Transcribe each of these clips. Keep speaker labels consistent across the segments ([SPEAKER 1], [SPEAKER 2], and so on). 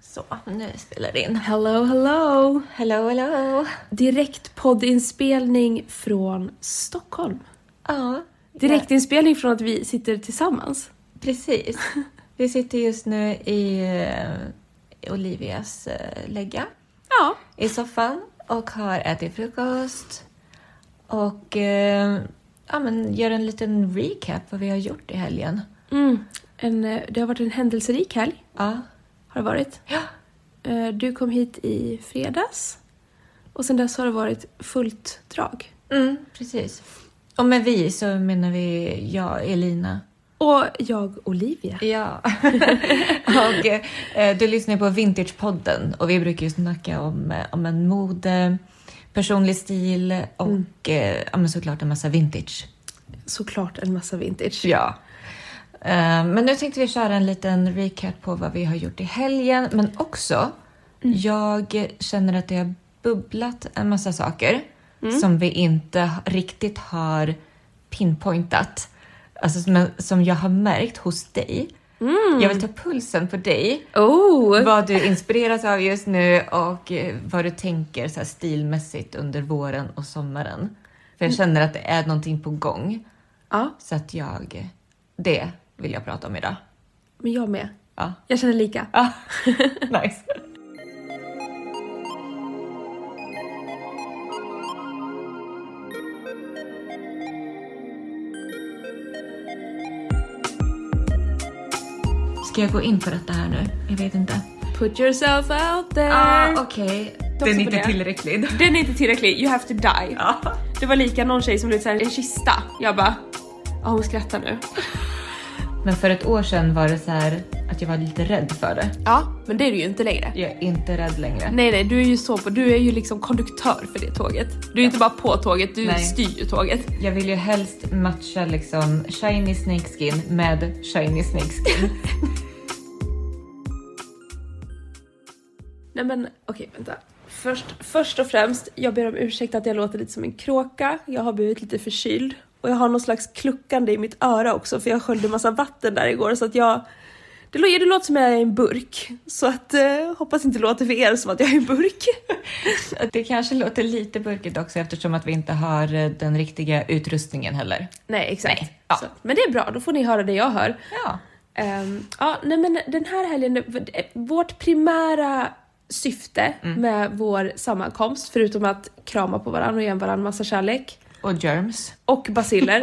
[SPEAKER 1] Så, nu spelar det in.
[SPEAKER 2] Hello, hello!
[SPEAKER 1] Hello, hello!
[SPEAKER 2] Direktpoddinspelning från Stockholm.
[SPEAKER 1] Ja,
[SPEAKER 2] Direktinspelning från att vi sitter tillsammans.
[SPEAKER 1] precis. Vi sitter just nu i eh, Olivias eh, lägga
[SPEAKER 2] Ja.
[SPEAKER 1] i soffan och har ätit frukost och eh, ja, men gör en liten recap vad vi har gjort i helgen.
[SPEAKER 2] Mm. En, eh, det har varit en händelserik helg.
[SPEAKER 1] Ja,
[SPEAKER 2] Har det varit.
[SPEAKER 1] ja,
[SPEAKER 2] Eh, Du kom hit i fredags. Och sen dess har det varit fullt drag.
[SPEAKER 1] mm, precis. Och med vi så menar vi jag, Elina
[SPEAKER 2] Och jag, Olivia.
[SPEAKER 1] Ja. och eh, du lyssnar ju på Vintagepodden och vi brukar ju snacka om, eh, om en mode, personlig stil och eh, ja, men såklart en massa vintage.
[SPEAKER 2] Såklart en massa vintage.
[SPEAKER 1] Ja. Eh, men nu tänkte vi köra en liten recap på vad vi har gjort i helgen, men också jag känner att det har bubblat en massa saker som vi inte riktigt har pinpointat. Alltså som, som jag har märkt hos dig. Jag vill ta pulsen på dig.
[SPEAKER 2] Oh!
[SPEAKER 1] Vad du inspireras av just nu och eh, vad du tänker så här stilmässigt under våren och sommaren. För jag känner att det är någonting på gång.
[SPEAKER 2] Ja,
[SPEAKER 1] Så att jag, det vill jag prata om idag.
[SPEAKER 2] men jag med.
[SPEAKER 1] Ja.
[SPEAKER 2] Jag känner lika.
[SPEAKER 1] ja. nice. Ska jag gå in på detta här nu? Jag vet inte.
[SPEAKER 2] Put yourself out there!
[SPEAKER 1] Ja, Ah, okej. Den är
[SPEAKER 2] på
[SPEAKER 1] inte
[SPEAKER 2] det.
[SPEAKER 1] tillräcklig.
[SPEAKER 2] Den är inte tillräcklig, you have to die.
[SPEAKER 1] Ja.
[SPEAKER 2] Det var lika någon tjej som blev såhär en kista. Jag bara, ja hon skrattar nu.
[SPEAKER 1] Men för ett år sedan var det så här att jag var lite rädd för det.
[SPEAKER 2] Ja, men det är du ju inte längre.
[SPEAKER 1] Jag är inte rädd längre.
[SPEAKER 2] Nej nej, du är ju så på, du är ju liksom konduktör för det tåget. Du är inte bara på tåget, du
[SPEAKER 1] Nej.
[SPEAKER 2] styr ju tåget.
[SPEAKER 1] Jag vill ju helst matcha liksom shiny snakeskin med shiny snakeskin.
[SPEAKER 2] Nej men okej, vänta. Först, först och främst, jag ber om ursäkt att jag låter lite som en kråka. Jag har blivit lite förkyld och jag har någon slags kluckande i mitt öra också för jag sköljde massa vatten där igår så att jag det, lå- det låter som att jag är i en burk, så att eh, hoppas inte det låter för er som att jag är i en burk.
[SPEAKER 1] det kanske låter lite burkigt också eftersom att vi inte har eh, den riktiga utrustningen heller.
[SPEAKER 2] Nej, exakt.
[SPEAKER 1] Nej, ja.
[SPEAKER 2] Så, men det är bra, då får ni höra det jag hör.
[SPEAKER 1] Ja,
[SPEAKER 2] Ehm, ja, nej men den här helgen, eh, vårt primära syfte
[SPEAKER 1] Mm.
[SPEAKER 2] med vår sammankomst, förutom att krama på varandra och ge varandra massa kärlek
[SPEAKER 1] och germs.
[SPEAKER 2] och basiller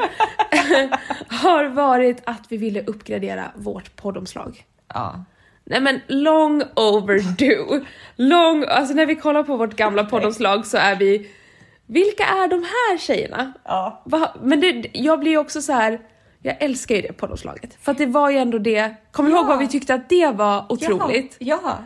[SPEAKER 2] har varit att vi ville uppgradera vårt poddomslag.
[SPEAKER 1] Ja,
[SPEAKER 2] Nej men long overdue. Long, alltså när vi kollar på vårt gamla poddomslag så är vi, vilka är de här tjejerna?
[SPEAKER 1] ja.
[SPEAKER 2] Va? Men det, jag blir ju också så här. jag älskar ju det poddomslaget. För att det var ju ändå det, kommer du
[SPEAKER 1] Ja.
[SPEAKER 2] ihåg vad vi tyckte att det var otroligt?
[SPEAKER 1] Ja, ja.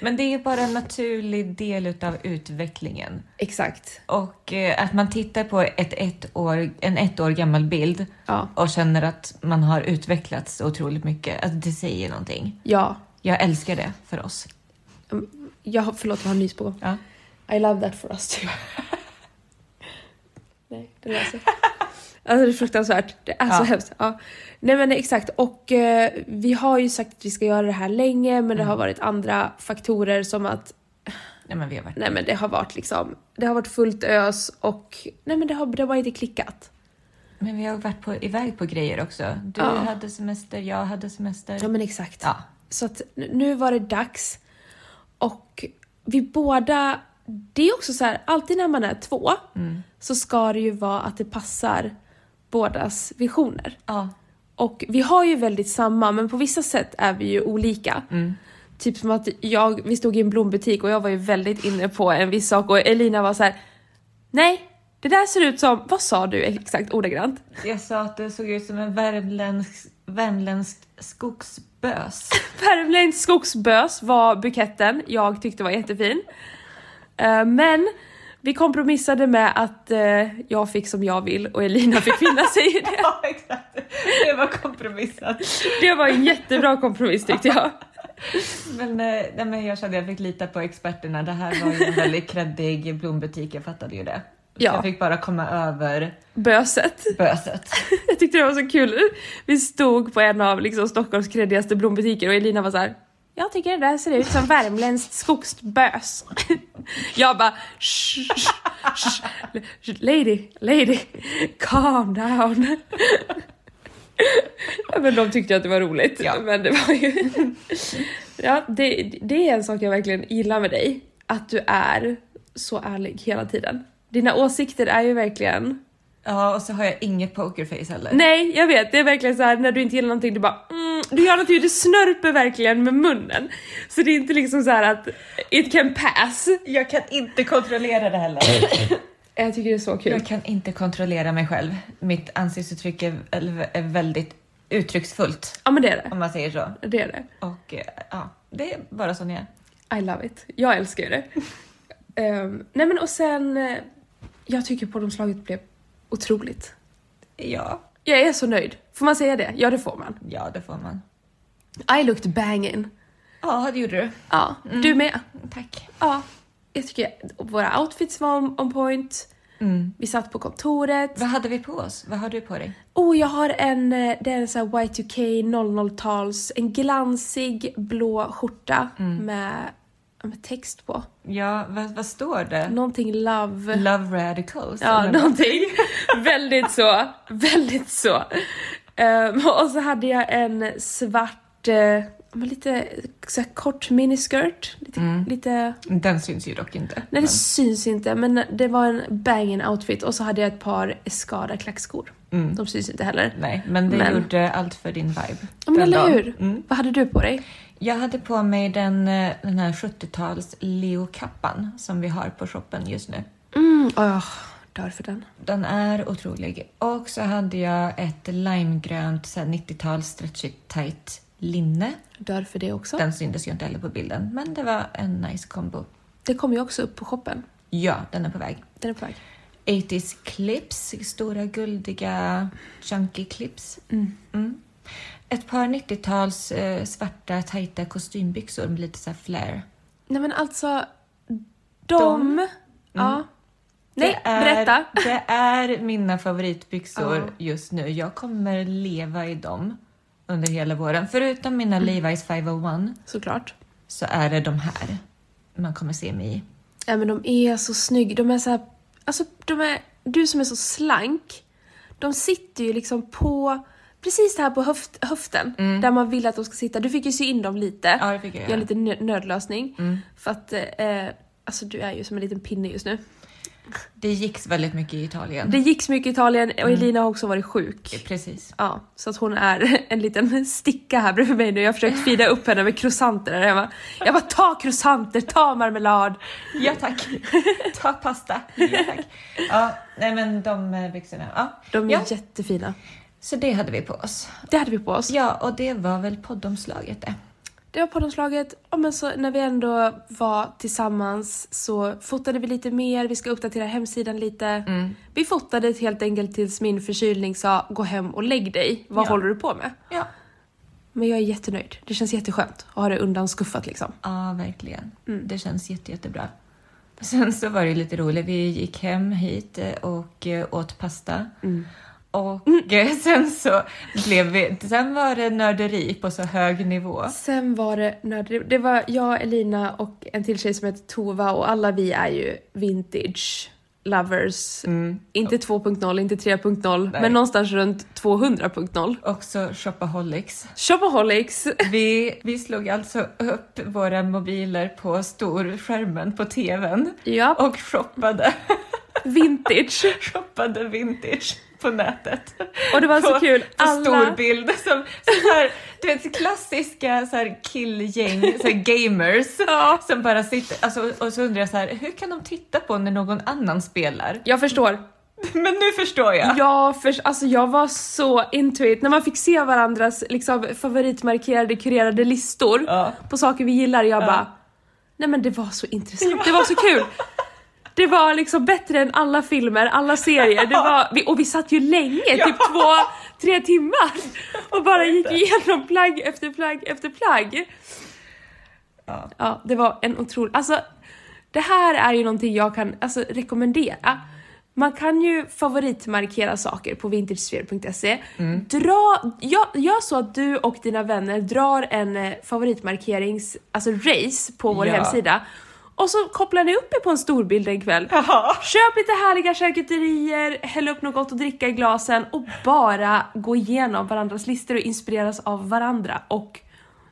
[SPEAKER 1] men det är ju bara en naturlig del utav utvecklingen.
[SPEAKER 2] Exakt.
[SPEAKER 1] Och eh, att man tittar på ett ett år, en ett år gammal bild
[SPEAKER 2] Ja.
[SPEAKER 1] och känner att man har utvecklats otroligt mycket. Att det säger någonting.
[SPEAKER 2] Ja.
[SPEAKER 1] Jag älskar det för oss.
[SPEAKER 2] Mm, Jag, har- förlåt, jag har en nys på gång.
[SPEAKER 1] Ja.
[SPEAKER 2] I love that for us typ. too. Nej, det löser Alltså det är fruktansvärt. Det är
[SPEAKER 1] Ja.
[SPEAKER 2] så hemskt. Ja. Nej men exakt och eh, vi har ju sagt att vi ska göra det här länge men det har varit andra faktorer som att
[SPEAKER 1] Nej, men vi har varit...
[SPEAKER 2] nej men det har varit liksom, det har varit fullt ös och nej men det har, det har bara inte klickat.
[SPEAKER 1] Men vi har varit på, iväg på grejer också. Du
[SPEAKER 2] Ja.
[SPEAKER 1] hade semester, jag hade semester.
[SPEAKER 2] Ja men exakt.
[SPEAKER 1] Ja.
[SPEAKER 2] Så att n- nu var det dags. Och vi båda, det är också så här, alltid när man är två så ska det ju vara att det passar bådas visioner.
[SPEAKER 1] Ja.
[SPEAKER 2] Och vi har ju väldigt samma, men på vissa sätt är vi ju olika. Typ som att jag, vi stod i en blombutik och jag var ju väldigt inne på en viss sak och Elina var så här: nej, det där ser ut som, vad sa du exakt ordagrant?
[SPEAKER 1] Jag sa att det såg ut som en värmländsk, värmländsk skogsbös.
[SPEAKER 2] Värmländsk skogsbös var buketten jag tyckte var jättefin. Eh, Men vi kompromissade med att eh, jag fick som jag vill och Elina fick finna sig i det.
[SPEAKER 1] ja, exakt. Det var kompromissat.
[SPEAKER 2] Det var en jättebra kompromiss tyckte jag.
[SPEAKER 1] Men, eh, nej, men jag kände att jag fick lita på experterna. Det här var ju en väldigt kreddig blombutik, jag fattade ju det. Så
[SPEAKER 2] Ja.
[SPEAKER 1] Jag fick bara komma över
[SPEAKER 2] Böset.
[SPEAKER 1] böset.
[SPEAKER 2] Jag tyckte det var så kul. Vi stod på en av liksom, Stockholms kreddigaste blombutiker och Elina var så här. jag tycker det där ser ut som värmländskt skogsbös. Jag bara shh, shh, shh, lady, lady, calm down. Ja, Men de tyckte att det var roligt.
[SPEAKER 1] Ja.
[SPEAKER 2] Men det var ju... Ja, det, det är en sak jag verkligen gillar med dig. Att du är så ärlig hela tiden. Dina åsikter är ju verkligen...
[SPEAKER 1] Ja, och så har jag inget pokerface heller.
[SPEAKER 2] Nej, jag vet. Det är verkligen så här när du inte gillar någonting, du bara mm, du gör någonting, du snörper verkligen med munnen. Så det är inte liksom så här att it can pass.
[SPEAKER 1] Jag kan inte kontrollera det heller.
[SPEAKER 2] Jag tycker det är så kul.
[SPEAKER 1] Jag kan inte kontrollera mig själv. Mitt ansiktsuttryck är, är- är väldigt uttrycksfullt,
[SPEAKER 2] Ja men det är det.
[SPEAKER 1] om man säger så.
[SPEAKER 2] Det är det.
[SPEAKER 1] Och eh, ja, det är bara sån jag är.
[SPEAKER 2] I love it. Jag älskar ju det. Ehm, nej men och sen, eh, jag tycker poddomslaget blev otroligt.
[SPEAKER 1] Ja,
[SPEAKER 2] Jag är så nöjd. Får man säga det? Ja det får man.
[SPEAKER 1] ja det får man.
[SPEAKER 2] I looked banging.
[SPEAKER 1] Ja, det gjorde du.
[SPEAKER 2] Ja, du med.
[SPEAKER 1] Tack.
[SPEAKER 2] Ja. Jag tycker våra outfits var on, on point.
[SPEAKER 1] Mm.
[SPEAKER 2] Vi satt på kontoret.
[SPEAKER 1] Vad hade vi på oss? Vad har du på dig?
[SPEAKER 2] Oh, jag har en, eh, det är en sån här Y2K 00-tals, en glansig blå skjorta med, med text på.
[SPEAKER 1] Ja, vad, vad står det?
[SPEAKER 2] Någonting love.
[SPEAKER 1] Love radicals?
[SPEAKER 2] Ja,
[SPEAKER 1] eller vad?
[SPEAKER 2] någonting. väldigt så. Väldigt så. Ehm, och så hade jag en svart, eh, men lite så här kort miniskirt. Lite, lite
[SPEAKER 1] Den syns ju dock inte.
[SPEAKER 2] nej det syns inte men det var en banging outfit och så hade jag ett par Escada klackskor.
[SPEAKER 1] Mm.
[SPEAKER 2] De syns inte heller.
[SPEAKER 1] Nej, men det
[SPEAKER 2] Men-
[SPEAKER 1] gjorde allt för din vibe.
[SPEAKER 2] Ja men
[SPEAKER 1] den
[SPEAKER 2] eller
[SPEAKER 1] dagen.
[SPEAKER 2] hur?
[SPEAKER 1] Mm.
[SPEAKER 2] Vad hade du på dig?
[SPEAKER 1] Jag hade på mig den, eh, den här 70-tals Leo-kappan som vi har på shoppen just nu.
[SPEAKER 2] Mm, åh, dör för den.
[SPEAKER 1] Den är otrolig. Och så hade jag ett limegrönt så här 90-tals stretchigt tight linne.
[SPEAKER 2] Dör för det också.
[SPEAKER 1] Den syntes ju inte heller på bilden, men det var en nice combo.
[SPEAKER 2] Det kommer ju också upp på shoppen.
[SPEAKER 1] Ja, den är på väg.
[SPEAKER 2] Den är på väg.
[SPEAKER 1] 80s clips, stora guldiga chunky clips. Mm. Ett par 90-tals eh, svarta tajta kostymbyxor med lite så här flair.
[SPEAKER 2] Nej men alltså, de... Mm.
[SPEAKER 1] De?
[SPEAKER 2] Ja. Nej,
[SPEAKER 1] Det är,
[SPEAKER 2] berätta.
[SPEAKER 1] Det är mina favoritbyxor
[SPEAKER 2] Ja.
[SPEAKER 1] just nu. Jag kommer leva i dem under hela våren. Förutom mina
[SPEAKER 2] Mm.
[SPEAKER 1] Levi's 501
[SPEAKER 2] Såklart.
[SPEAKER 1] så är det de här man kommer se mig i.
[SPEAKER 2] Nej men de är så snygga. De är så här, alltså de är, du som är så slank, de sitter ju liksom på, precis det här på höft, höften, där man vill att de ska sitta. Du fick ju sy in dem lite.
[SPEAKER 1] Ja, det fick jag
[SPEAKER 2] Gör
[SPEAKER 1] göra. Mm.
[SPEAKER 2] lite nö- nödlösning. För att, eh, alltså du är ju som en liten pinne just nu.
[SPEAKER 1] Det gick väldigt mycket i Italien.
[SPEAKER 2] Det gick så mycket i Italien och Elina har också varit sjuk.
[SPEAKER 1] Precis.
[SPEAKER 2] Ja, så att hon är en liten sticka här bredvid mig nu. Jag har försökt fida upp henne med croissanter där hemma. Jag bara ta croissanter, ta marmelad.
[SPEAKER 1] Ja tack. Ta pasta. Ja tack. Ja, nej men de eh, byxorna. Ja.
[SPEAKER 2] De är
[SPEAKER 1] ja.
[SPEAKER 2] jättefina.
[SPEAKER 1] Så det hade vi på oss.
[SPEAKER 2] Det hade vi på oss.
[SPEAKER 1] Ja, och det var väl poddomslaget eh. det.
[SPEAKER 2] Det var poddomslaget. Ja, men så när vi ändå var tillsammans så fotade vi lite mer. Vi ska uppdatera hemsidan lite.
[SPEAKER 1] Mm.
[SPEAKER 2] Vi fotade helt enkelt tills min förkylning sa gå hem och lägg dig. Vad
[SPEAKER 1] Ja.
[SPEAKER 2] håller du på med?
[SPEAKER 1] Ja.
[SPEAKER 2] Men jag är jättenöjd. Det känns jätteskönt att ha det undanskuffat liksom.
[SPEAKER 1] Ja, verkligen. Det känns jätte, jättebra. Sen så var det lite roligt. Vi gick hem hit eh, och eh, åt pasta. Och eh, sen så blev vi... Sen var det nörderi på så hög nivå.
[SPEAKER 2] Sen var det nörderi. Det var jag, Elina och en till tjej som heter Tova och alla vi är ju vintage lovers. Inte 2.0, inte 3.0,
[SPEAKER 1] Mm. Nej.
[SPEAKER 2] men någonstans runt 200.0.
[SPEAKER 1] Också shopaholics.
[SPEAKER 2] Shopaholics!
[SPEAKER 1] Vi, vi slog alltså upp våra mobiler på storskärmen på tvn
[SPEAKER 2] ja,
[SPEAKER 1] och shoppade,
[SPEAKER 2] vintage.
[SPEAKER 1] shoppade vintage på nätet.
[SPEAKER 2] Och det var så
[SPEAKER 1] på,
[SPEAKER 2] kul.
[SPEAKER 1] På
[SPEAKER 2] Alla,
[SPEAKER 1] storbild som, som här, du vet klassiska så här killgäng, så här gamers.
[SPEAKER 2] Ja.
[SPEAKER 1] Som bara sitter, alltså, och så undrar jag så här, hur kan de titta på när någon annan spelar?
[SPEAKER 2] jag förstår.
[SPEAKER 1] Men nu förstår jag.
[SPEAKER 2] Jag, för, alltså jag var så into it. När man fick se varandras liksom, favoritmarkerade, kurerade listor
[SPEAKER 1] Ja.
[SPEAKER 2] på saker vi gillar, jag bara Nej men det var så intressant, det var så kul! Det var liksom bättre än alla filmer, alla serier. Det var, vi, och vi satt ju länge, typ två, tre timmar och bara gick igenom plagg efter plagg efter plagg.
[SPEAKER 1] Ja.
[SPEAKER 2] Ja, det var en otrolig... Alltså, det här är ju någonting jag kan alltså, rekommendera. Man kan ju favoritmarkera saker på vintagesphere.se.
[SPEAKER 1] Mm.
[SPEAKER 2] Dra, gör, gör så att du och dina vänner drar en eh, favoritmarkerings, alltså race på vår
[SPEAKER 1] Ja.
[SPEAKER 2] hemsida. Och så kopplar ni upp er på en storbild en kväll.
[SPEAKER 1] Ja.
[SPEAKER 2] Köp lite härliga charkuterier, häll upp något gott att dricka i glasen och bara gå igenom varandras listor och inspireras av varandra. Och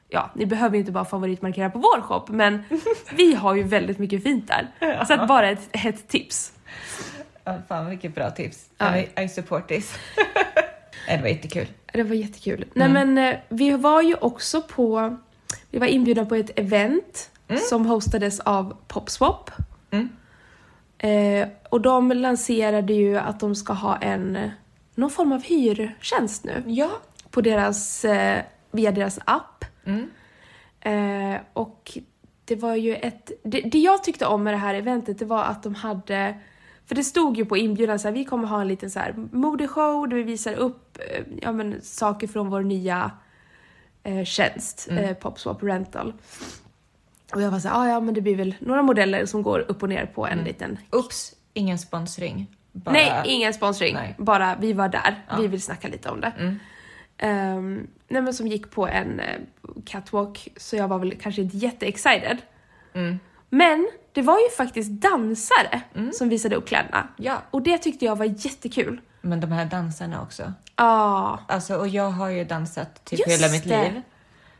[SPEAKER 2] ja, ni behöver ju inte bara favoritmarkera på vår shop, men vi har ju väldigt mycket fint där. Så att bara ett hett tips.
[SPEAKER 1] Ja, fan vilket bra tips.
[SPEAKER 2] Ja.
[SPEAKER 1] I, I support this. det var jättekul.
[SPEAKER 2] Det var jättekul. Nej men eh, vi var ju också på, vi var inbjudna på ett event som hostades av Popswap.
[SPEAKER 1] Mm.
[SPEAKER 2] Eh, och de lanserade ju att de ska ha en, någon form av hyrtjänst nu.
[SPEAKER 1] Ja.
[SPEAKER 2] på deras, eh, via deras app.
[SPEAKER 1] Mm.
[SPEAKER 2] Eh, och det var ju ett... Det, det jag tyckte om med det här eventet det var att de hade... För det stod ju på inbjudan så här, vi kommer ha en liten så här modeshow där vi visar upp eh, ja, men, saker från vår nya eh, tjänst,
[SPEAKER 1] Mm.
[SPEAKER 2] eh, Popswap Rental. Och jag var så här, ah, ja men det blir väl några modeller som går upp och ner på en liten
[SPEAKER 1] Ups, ingen sponsring. Mm. Bara...
[SPEAKER 2] Nej, ingen sponsring.
[SPEAKER 1] Nej.
[SPEAKER 2] Bara vi var där.
[SPEAKER 1] Ja.
[SPEAKER 2] Vi vill snacka lite om det.
[SPEAKER 1] Mm.
[SPEAKER 2] Ehm, nej men som gick på en eh, catwalk, så jag var väl kanske inte jätteexcited.
[SPEAKER 1] Mm.
[SPEAKER 2] Men det var ju faktiskt dansare som visade upp kläderna.
[SPEAKER 1] Ja,
[SPEAKER 2] Och det tyckte jag var jättekul.
[SPEAKER 1] men de här dansarna också.
[SPEAKER 2] Ah,
[SPEAKER 1] Alltså, och jag har ju dansat typ
[SPEAKER 2] Just
[SPEAKER 1] hela mitt
[SPEAKER 2] det.
[SPEAKER 1] liv.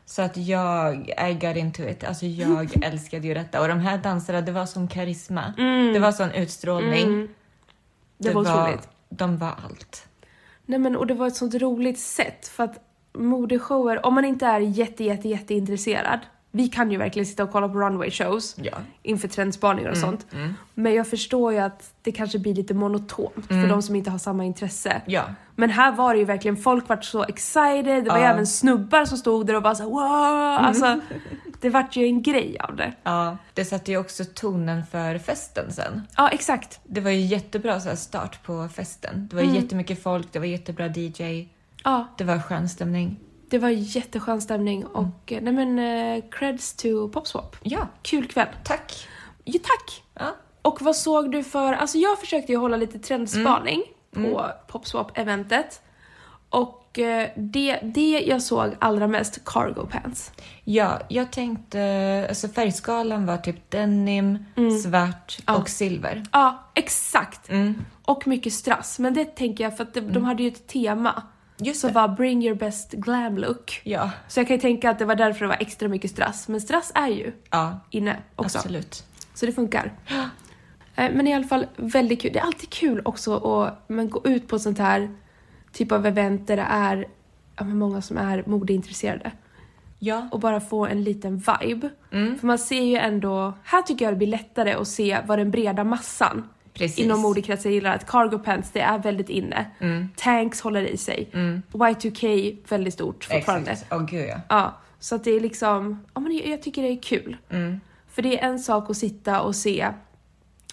[SPEAKER 1] Så att jag, I got into it. Alltså jag älskade ju detta. Och de här dansarna, det var som karisma. Det var sån utstrålning.
[SPEAKER 2] Mm. det, var otroligt.
[SPEAKER 1] De var allt.
[SPEAKER 2] Nej men och det var ett sånt roligt sätt för att modeshower, om man inte är jätte jätte jätteintresserad, vi kan ju verkligen sitta och kolla på runway shows.
[SPEAKER 1] Ja.
[SPEAKER 2] inför trendspaningar och sånt. Men jag förstår ju att det kanske blir lite monotont för de som inte har samma intresse.
[SPEAKER 1] Ja.
[SPEAKER 2] Men här var det ju verkligen, folk vart så excited, det var ju
[SPEAKER 1] Ja.
[SPEAKER 2] även snubbar som stod där och bara såhär wow! Alltså, det vart ju en grej av det.
[SPEAKER 1] ja. Det satte ju också tonen för festen sen.
[SPEAKER 2] Ja, exakt.
[SPEAKER 1] Det var ju jättebra så här start på festen. Det var
[SPEAKER 2] Mm.
[SPEAKER 1] jättemycket folk, det var jättebra DJ,
[SPEAKER 2] Ja,
[SPEAKER 1] det var skön stämning.
[SPEAKER 2] det var jätteskön stämning och eh, nej men eh, creds to Popswap.
[SPEAKER 1] Ja,
[SPEAKER 2] Kul kväll.
[SPEAKER 1] tack!
[SPEAKER 2] Ja, tack!
[SPEAKER 1] Ja.
[SPEAKER 2] Och vad såg du för, alltså jag försökte ju hålla lite trendspaning
[SPEAKER 1] Mm.
[SPEAKER 2] på Popswap-eventet. Och eh, det, det jag såg allra mest, cargo pants.
[SPEAKER 1] ja, jag tänkte, alltså färgskalan var typ denim,
[SPEAKER 2] Mm.
[SPEAKER 1] svart och silver.
[SPEAKER 2] Ja, exakt! Och mycket strass, men det tänker jag för att de, de hade ju ett tema
[SPEAKER 1] Mm. Just
[SPEAKER 2] som var “Bring your best glam look”.
[SPEAKER 1] Ja,
[SPEAKER 2] Så jag kan ju tänka att det var därför det var extra mycket strass, men strass är ju
[SPEAKER 1] ja
[SPEAKER 2] inne också.
[SPEAKER 1] absolut.
[SPEAKER 2] Så det funkar. Eh, Men i alla fall väldigt kul. Det är alltid kul också att men, gå ut på sånt här typ av event där det är ja, men många som är modeintresserade
[SPEAKER 1] Ja,
[SPEAKER 2] och bara få en liten vibe.
[SPEAKER 1] Mm.
[SPEAKER 2] För man ser ju ändå, här tycker jag det blir lättare att se vad den breda massan
[SPEAKER 1] precis.
[SPEAKER 2] inom modekretsar gillar. Att cargo pants, det är väldigt inne.
[SPEAKER 1] Mm.
[SPEAKER 2] Tanks håller i sig. Y2K, väldigt stort fortfarande.
[SPEAKER 1] Exakt. Åh gud ja.
[SPEAKER 2] Ja, så att det är liksom, ja men jag, jag tycker det är kul.
[SPEAKER 1] Mm.
[SPEAKER 2] För det är en sak att sitta och se,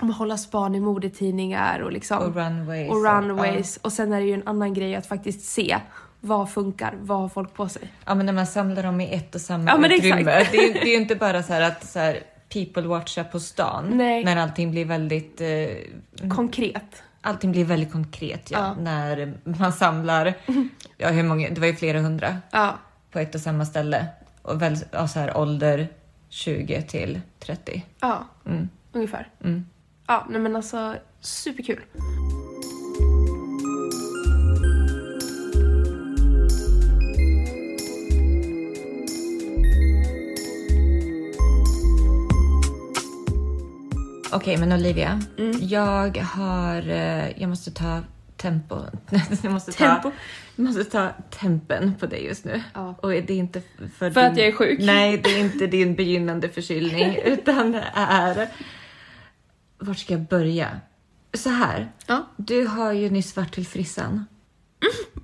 [SPEAKER 2] om att hålla span i modetidningar och liksom
[SPEAKER 1] Och runways.
[SPEAKER 2] och runways. Och sen är det ju en annan grej att faktiskt se vad funkar, vad har folk på sig.
[SPEAKER 1] ja. ja, men när man samlar dem i ett och samma
[SPEAKER 2] Ja, men
[SPEAKER 1] utrymme.
[SPEAKER 2] exakt.
[SPEAKER 1] Det är, ju- det är ju inte bara så här att så här, people watcha på stan.
[SPEAKER 2] Nej.
[SPEAKER 1] När allting blir väldigt eh,
[SPEAKER 2] Konkret.
[SPEAKER 1] Allting blir väldigt konkret ja,
[SPEAKER 2] Ja.
[SPEAKER 1] när man samlar, ja, hur många, det var ju flera hundra
[SPEAKER 2] Ja,
[SPEAKER 1] på ett och samma ställe. Och väl, ja, så här, ålder 20 till 30.
[SPEAKER 2] ja
[SPEAKER 1] Mm.
[SPEAKER 2] ungefär.
[SPEAKER 1] Mm.
[SPEAKER 2] Ja, nej men alltså superkul.
[SPEAKER 1] Okej, men Olivia,
[SPEAKER 2] Mm.
[SPEAKER 1] jag har, eh, jag måste ta tempo, jag måste
[SPEAKER 2] Tempo.
[SPEAKER 1] ta, jag måste ta tempen på dig just nu.
[SPEAKER 2] Ja.
[SPEAKER 1] Och det är inte för,
[SPEAKER 2] För att jag är sjuk.
[SPEAKER 1] Nej, det är inte din begynnande förkylning utan det är, vart ska jag börja? Så här,
[SPEAKER 2] Ja.
[SPEAKER 1] du har ju nyss varit till frissan.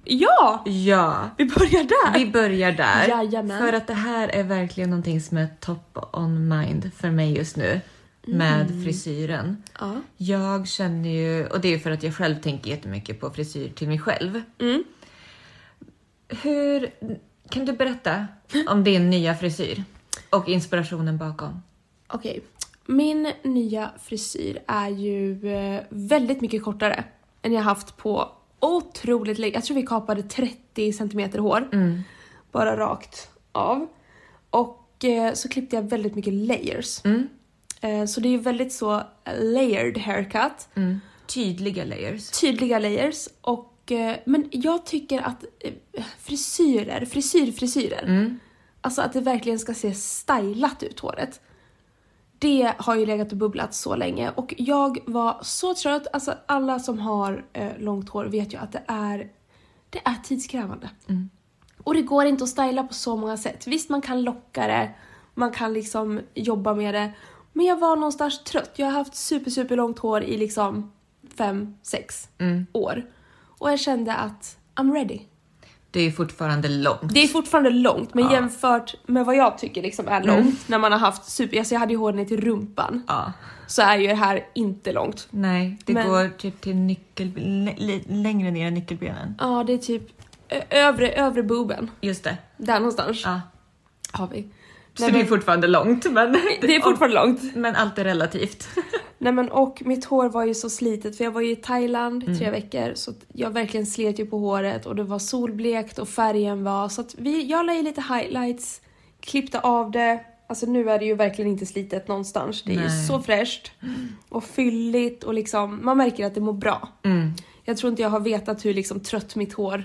[SPEAKER 2] ja,
[SPEAKER 1] Ja,
[SPEAKER 2] vi börjar där.
[SPEAKER 1] vi börjar där.
[SPEAKER 2] Jajamän.
[SPEAKER 1] För att det här är verkligen någonting som är top on mind för mig just nu
[SPEAKER 2] Mm.
[SPEAKER 1] med frisyren.
[SPEAKER 2] Ja.
[SPEAKER 1] Jag känner ju, och det är ju för att jag själv tänker jättemycket på frisyr till mig själv.
[SPEAKER 2] Mm.
[SPEAKER 1] Hur, kan du berätta om din nya frisyr och inspirationen bakom?
[SPEAKER 2] Okej, Min nya frisyr är ju eh, väldigt mycket kortare än jag haft på otroligt länge. Jag tror vi kapade 30 centimeter hår.
[SPEAKER 1] Mm.
[SPEAKER 2] Bara rakt av. Och eh, så klippte jag väldigt mycket layers.
[SPEAKER 1] Mm.
[SPEAKER 2] Eh, Så det är ju väldigt så layered haircut.
[SPEAKER 1] Mm. Tydliga layers.
[SPEAKER 2] Tydliga layers. Och, eh, men jag tycker att eh, frisyrer, frisyr, frisyrer.
[SPEAKER 1] Mm.
[SPEAKER 2] Alltså att det verkligen ska se stylat ut håret. Det har ju legat och bubblat så länge och jag var så trött. Alltså alla som har eh, långt hår vet ju att det är, det är tidskrävande.
[SPEAKER 1] Mm.
[SPEAKER 2] Och det går inte att styla på så många sätt. Visst, man kan locka det, man kan liksom jobba med det. Men jag var någonstans trött. Jag har haft super, super långt hår i liksom fem, sex
[SPEAKER 1] Mm.
[SPEAKER 2] år. Och jag kände att I'm ready.
[SPEAKER 1] Det är fortfarande långt.
[SPEAKER 2] Det är fortfarande långt, men
[SPEAKER 1] Ja.
[SPEAKER 2] jämfört med vad jag tycker liksom är långt, när man har haft super... Alltså jag hade ju hår ner till rumpan,
[SPEAKER 1] Ja.
[SPEAKER 2] så är ju det här inte långt.
[SPEAKER 1] Nej, det
[SPEAKER 2] Men-
[SPEAKER 1] går typ till nyckel... lä- li- längre ner än nyckelbenen.
[SPEAKER 2] Ja, det är typ ö- övre, övre boben.
[SPEAKER 1] Just det.
[SPEAKER 2] Där någonstans
[SPEAKER 1] Ja.
[SPEAKER 2] har vi.
[SPEAKER 1] Så
[SPEAKER 2] Nej,
[SPEAKER 1] det är
[SPEAKER 2] men-
[SPEAKER 1] fortfarande långt, men...
[SPEAKER 2] Det är fortfarande långt.
[SPEAKER 1] Men allt är relativt.
[SPEAKER 2] Nej men och mitt hår var ju så slitet för jag var ju i Thailand i
[SPEAKER 1] Mm.
[SPEAKER 2] tre veckor så att jag verkligen slet ju på håret och det var solblekt och färgen var så att vi, jag la i lite highlights, klippte av det. Alltså nu är det ju verkligen inte slitet någonstans. Det är ju
[SPEAKER 1] Nej.
[SPEAKER 2] så fräscht och fylligt och liksom man märker att det mår bra.
[SPEAKER 1] Mm.
[SPEAKER 2] Jag tror inte jag har vetat hur liksom trött mitt hår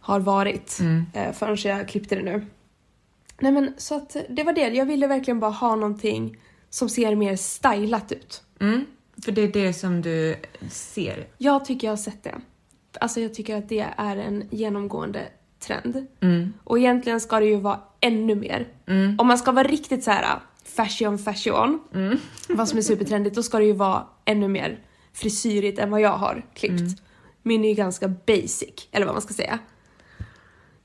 [SPEAKER 2] har varit
[SPEAKER 1] Mm.
[SPEAKER 2] eh, förrän jag klippte det nu. Nej men så att det var det. Jag ville verkligen bara ha någonting som ser mer stylat ut.
[SPEAKER 1] Mm. För det är det som du ser.
[SPEAKER 2] Jag tycker jag har sett det. Alltså jag tycker att det är en genomgående trend.
[SPEAKER 1] Mm.
[SPEAKER 2] Och egentligen ska det ju vara ännu mer.
[SPEAKER 1] Mm.
[SPEAKER 2] Om man ska vara riktigt så här äh, fashion fashion, vad som är supertrendigt, då ska det ju vara ännu mer frisyrigt än vad jag har klippt.
[SPEAKER 1] Mm.
[SPEAKER 2] Min är ju ganska basic, eller vad man ska säga.